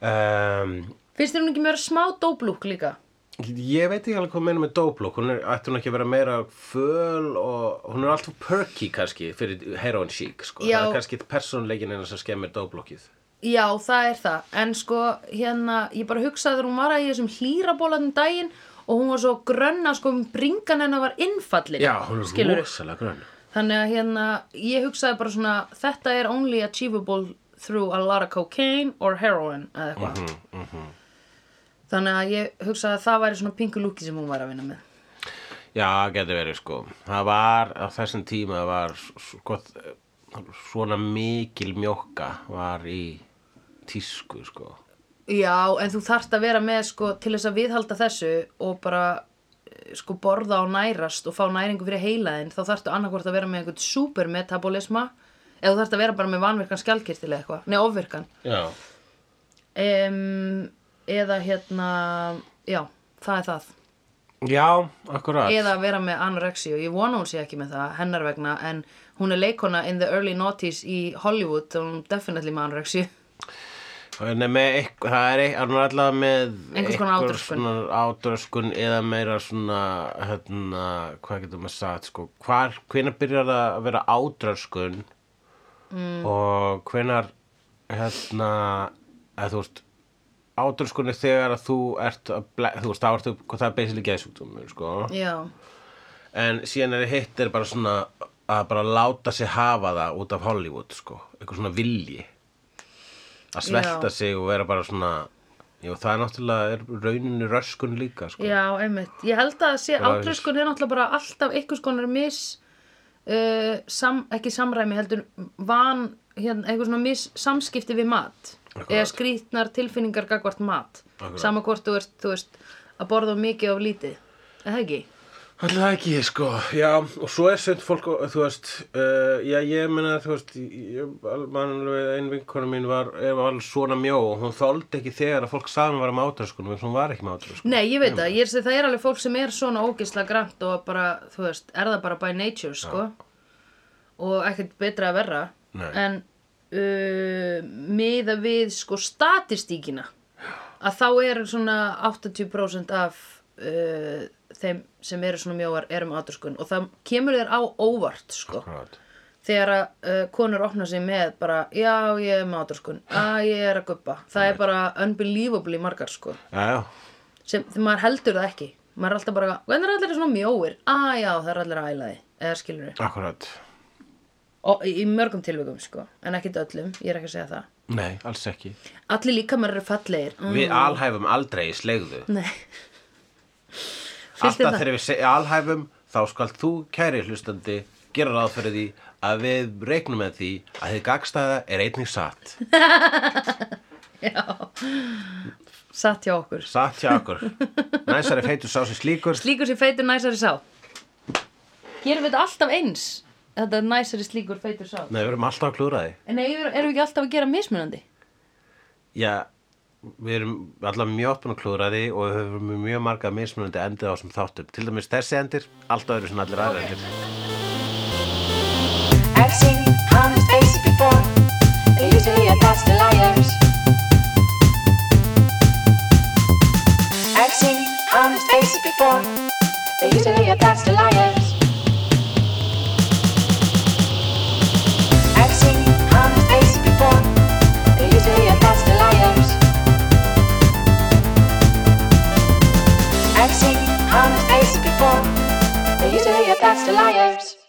Speaker 2: um,
Speaker 1: Finnst þér hún ekki meira smá dope look líka?
Speaker 2: Ég veit ekki alveg hvað meina með doplok, hún er, ætti hún ekki að vera meira föl og hún er alltaf perky kannski fyrir heroin chic, sko.
Speaker 1: Já.
Speaker 2: Það er kannski persónleikin hennar sem skemmir doplokið.
Speaker 1: Já, það er það. En sko, hérna, ég bara hugsaði þegar hún var að í þessum hlýrabólaðum daginn og hún var svo grönna, sko, bringan hennar var innfallin.
Speaker 2: Já, hún er
Speaker 1: Skilurðu?
Speaker 2: rosalega grönn.
Speaker 1: Þannig að hérna, ég hugsaði bara svona, þetta er only achievable through a lot of cocaine or heroin eða eitthvað. Þannig að ég hugsaði að það væri svona pingu lúki sem hún var að vinna með.
Speaker 2: Já, getur verið sko. Það var, á þessum tíma var sko, svona mikil mjókka var í tísku sko.
Speaker 1: Já, en þú þarft að vera með sko til þess að viðhalda þessu og bara eh, sko borða og nærast og fá næringu fyrir heilaðin þá þarftu annarkvort að vera með einhvern supermetabolisma eða þú þarft að vera bara með vanvirkan skjaldkirtil eða eitthvað, nei ofvirkan
Speaker 2: Já.
Speaker 1: um, eða hérna, já, það er það
Speaker 2: Já, akkurat.
Speaker 1: eða að vera með anorexíu, ég vona hún sé ekki með það hennar vegna, en hún er leikona in the early noughties í Hollywood og hún er definitely með anorexíu
Speaker 2: Nei, með eitthvað, það er eitthvað, hann er allavega með
Speaker 1: Einhvers konar
Speaker 2: einhver
Speaker 1: átröskun.
Speaker 2: svona átröskun eða meira svona, hérna, hvað getur maður sagt, sko, hvar, hvenær byrjar það að vera átröskun
Speaker 1: Mm.
Speaker 2: og hvenær, hérna, eða þú veist, átröskun er þegar að þú ert, að ble, þú veist, þá ertu, hvað það er basically geðsjúkdómur, sko,
Speaker 1: já,
Speaker 2: en síðan er hitt er bara svona að bara láta sig hafa það út af Hollywood sko, eitthvað svona vilji að svelta
Speaker 1: Já.
Speaker 2: sig og vera bara svona jú, það er náttúrulega er rauninu röskun líka sko.
Speaker 1: já, einmitt ég held að sé
Speaker 2: Bara-
Speaker 1: átröskun er náttúrulega bara alltaf einhvers konar mis uh, sam, ekki samræmi heldur van, hérna, einhvers svona mis samskipti við mat
Speaker 2: Akkurat.
Speaker 1: eða skrýtnar tilfinningar gagvart mat
Speaker 2: Akkurat.
Speaker 1: sama hvort þú ert, þú veist að borða of mikið of lítið, er það ekki?
Speaker 2: Alltaf ekki, sko, já, og svo er sönd fólk, og, þú veist, uh, já, ég meina, þú veist, ég, mannlega ein vinkona mín var, er alveg svona mjó og hún þoldi ekki þegar að fólk sagði hún var um átröskunum, en hún var ekki með átröskunum.
Speaker 1: Nei, ég veit það, ég er sem það er alveg fólk sem er svona ógisla grannt og bara, þú veist, er það bara by nature, sko og ekkert betra að verra
Speaker 2: Nei.
Speaker 1: en uh, miða við sko statistíkina að þá eru svona 80% af uh, þeim sem eru svona mjóar erum átröskun og það kemur þér á óvart, sko
Speaker 2: Akkurat.
Speaker 1: þegar að uh, konur opna sig með bara, já, ég er með átröskun að ég er að guppa, það er bara unbelievably margar, sko
Speaker 2: Já, já,
Speaker 1: sem þegar maður heldur það ekki maður er alltaf bara, hvernig er allir svona mjóir ah, já, það er allir ælaði, eða skilur við
Speaker 2: akkurat.
Speaker 1: og í, í mörgum tilvikum sko, en ekkit öllum ég er ekki að segja það,
Speaker 2: Nei, alls ekki.
Speaker 1: allir líka maður eru fallegir mm,
Speaker 2: Við alhæfum aldrei í slegðu.
Speaker 1: nei
Speaker 2: Alltaf
Speaker 1: Fylgdi það?
Speaker 2: þegar við se- alhæfum þá skalt þú, kæri hlustandi, gera ráð fyrir því að við reiknum með því að þið gagstaða er einnig satt.
Speaker 1: satt hjá okkur,
Speaker 2: Satt hjá okkur. Næsari feitur sá sem slíkur.
Speaker 1: slíkur sem feitur næsari sá gerum við þetta alltaf eins þetta næsari slíkur feitur sá
Speaker 2: Nei, við erum alltaf að klúðra því.
Speaker 1: Nei, erum erum við ekki alltaf að gera mismunandi?
Speaker 2: Já, við erum alltaf mjög opnum að klúðra því og við höfum mjög marga mismunandi endið á þessum þáttum. Til dæmis þessi endir, alltaf eru svona allir aðra endir.
Speaker 3: I've seen honest faces before. They're usually a pass to liars. I've seen honest faces before. They're usually a pass to liars. I've seen honest faces before. They're usually a pass to liars. I've seen honest faces before. They're usually a pass to liars.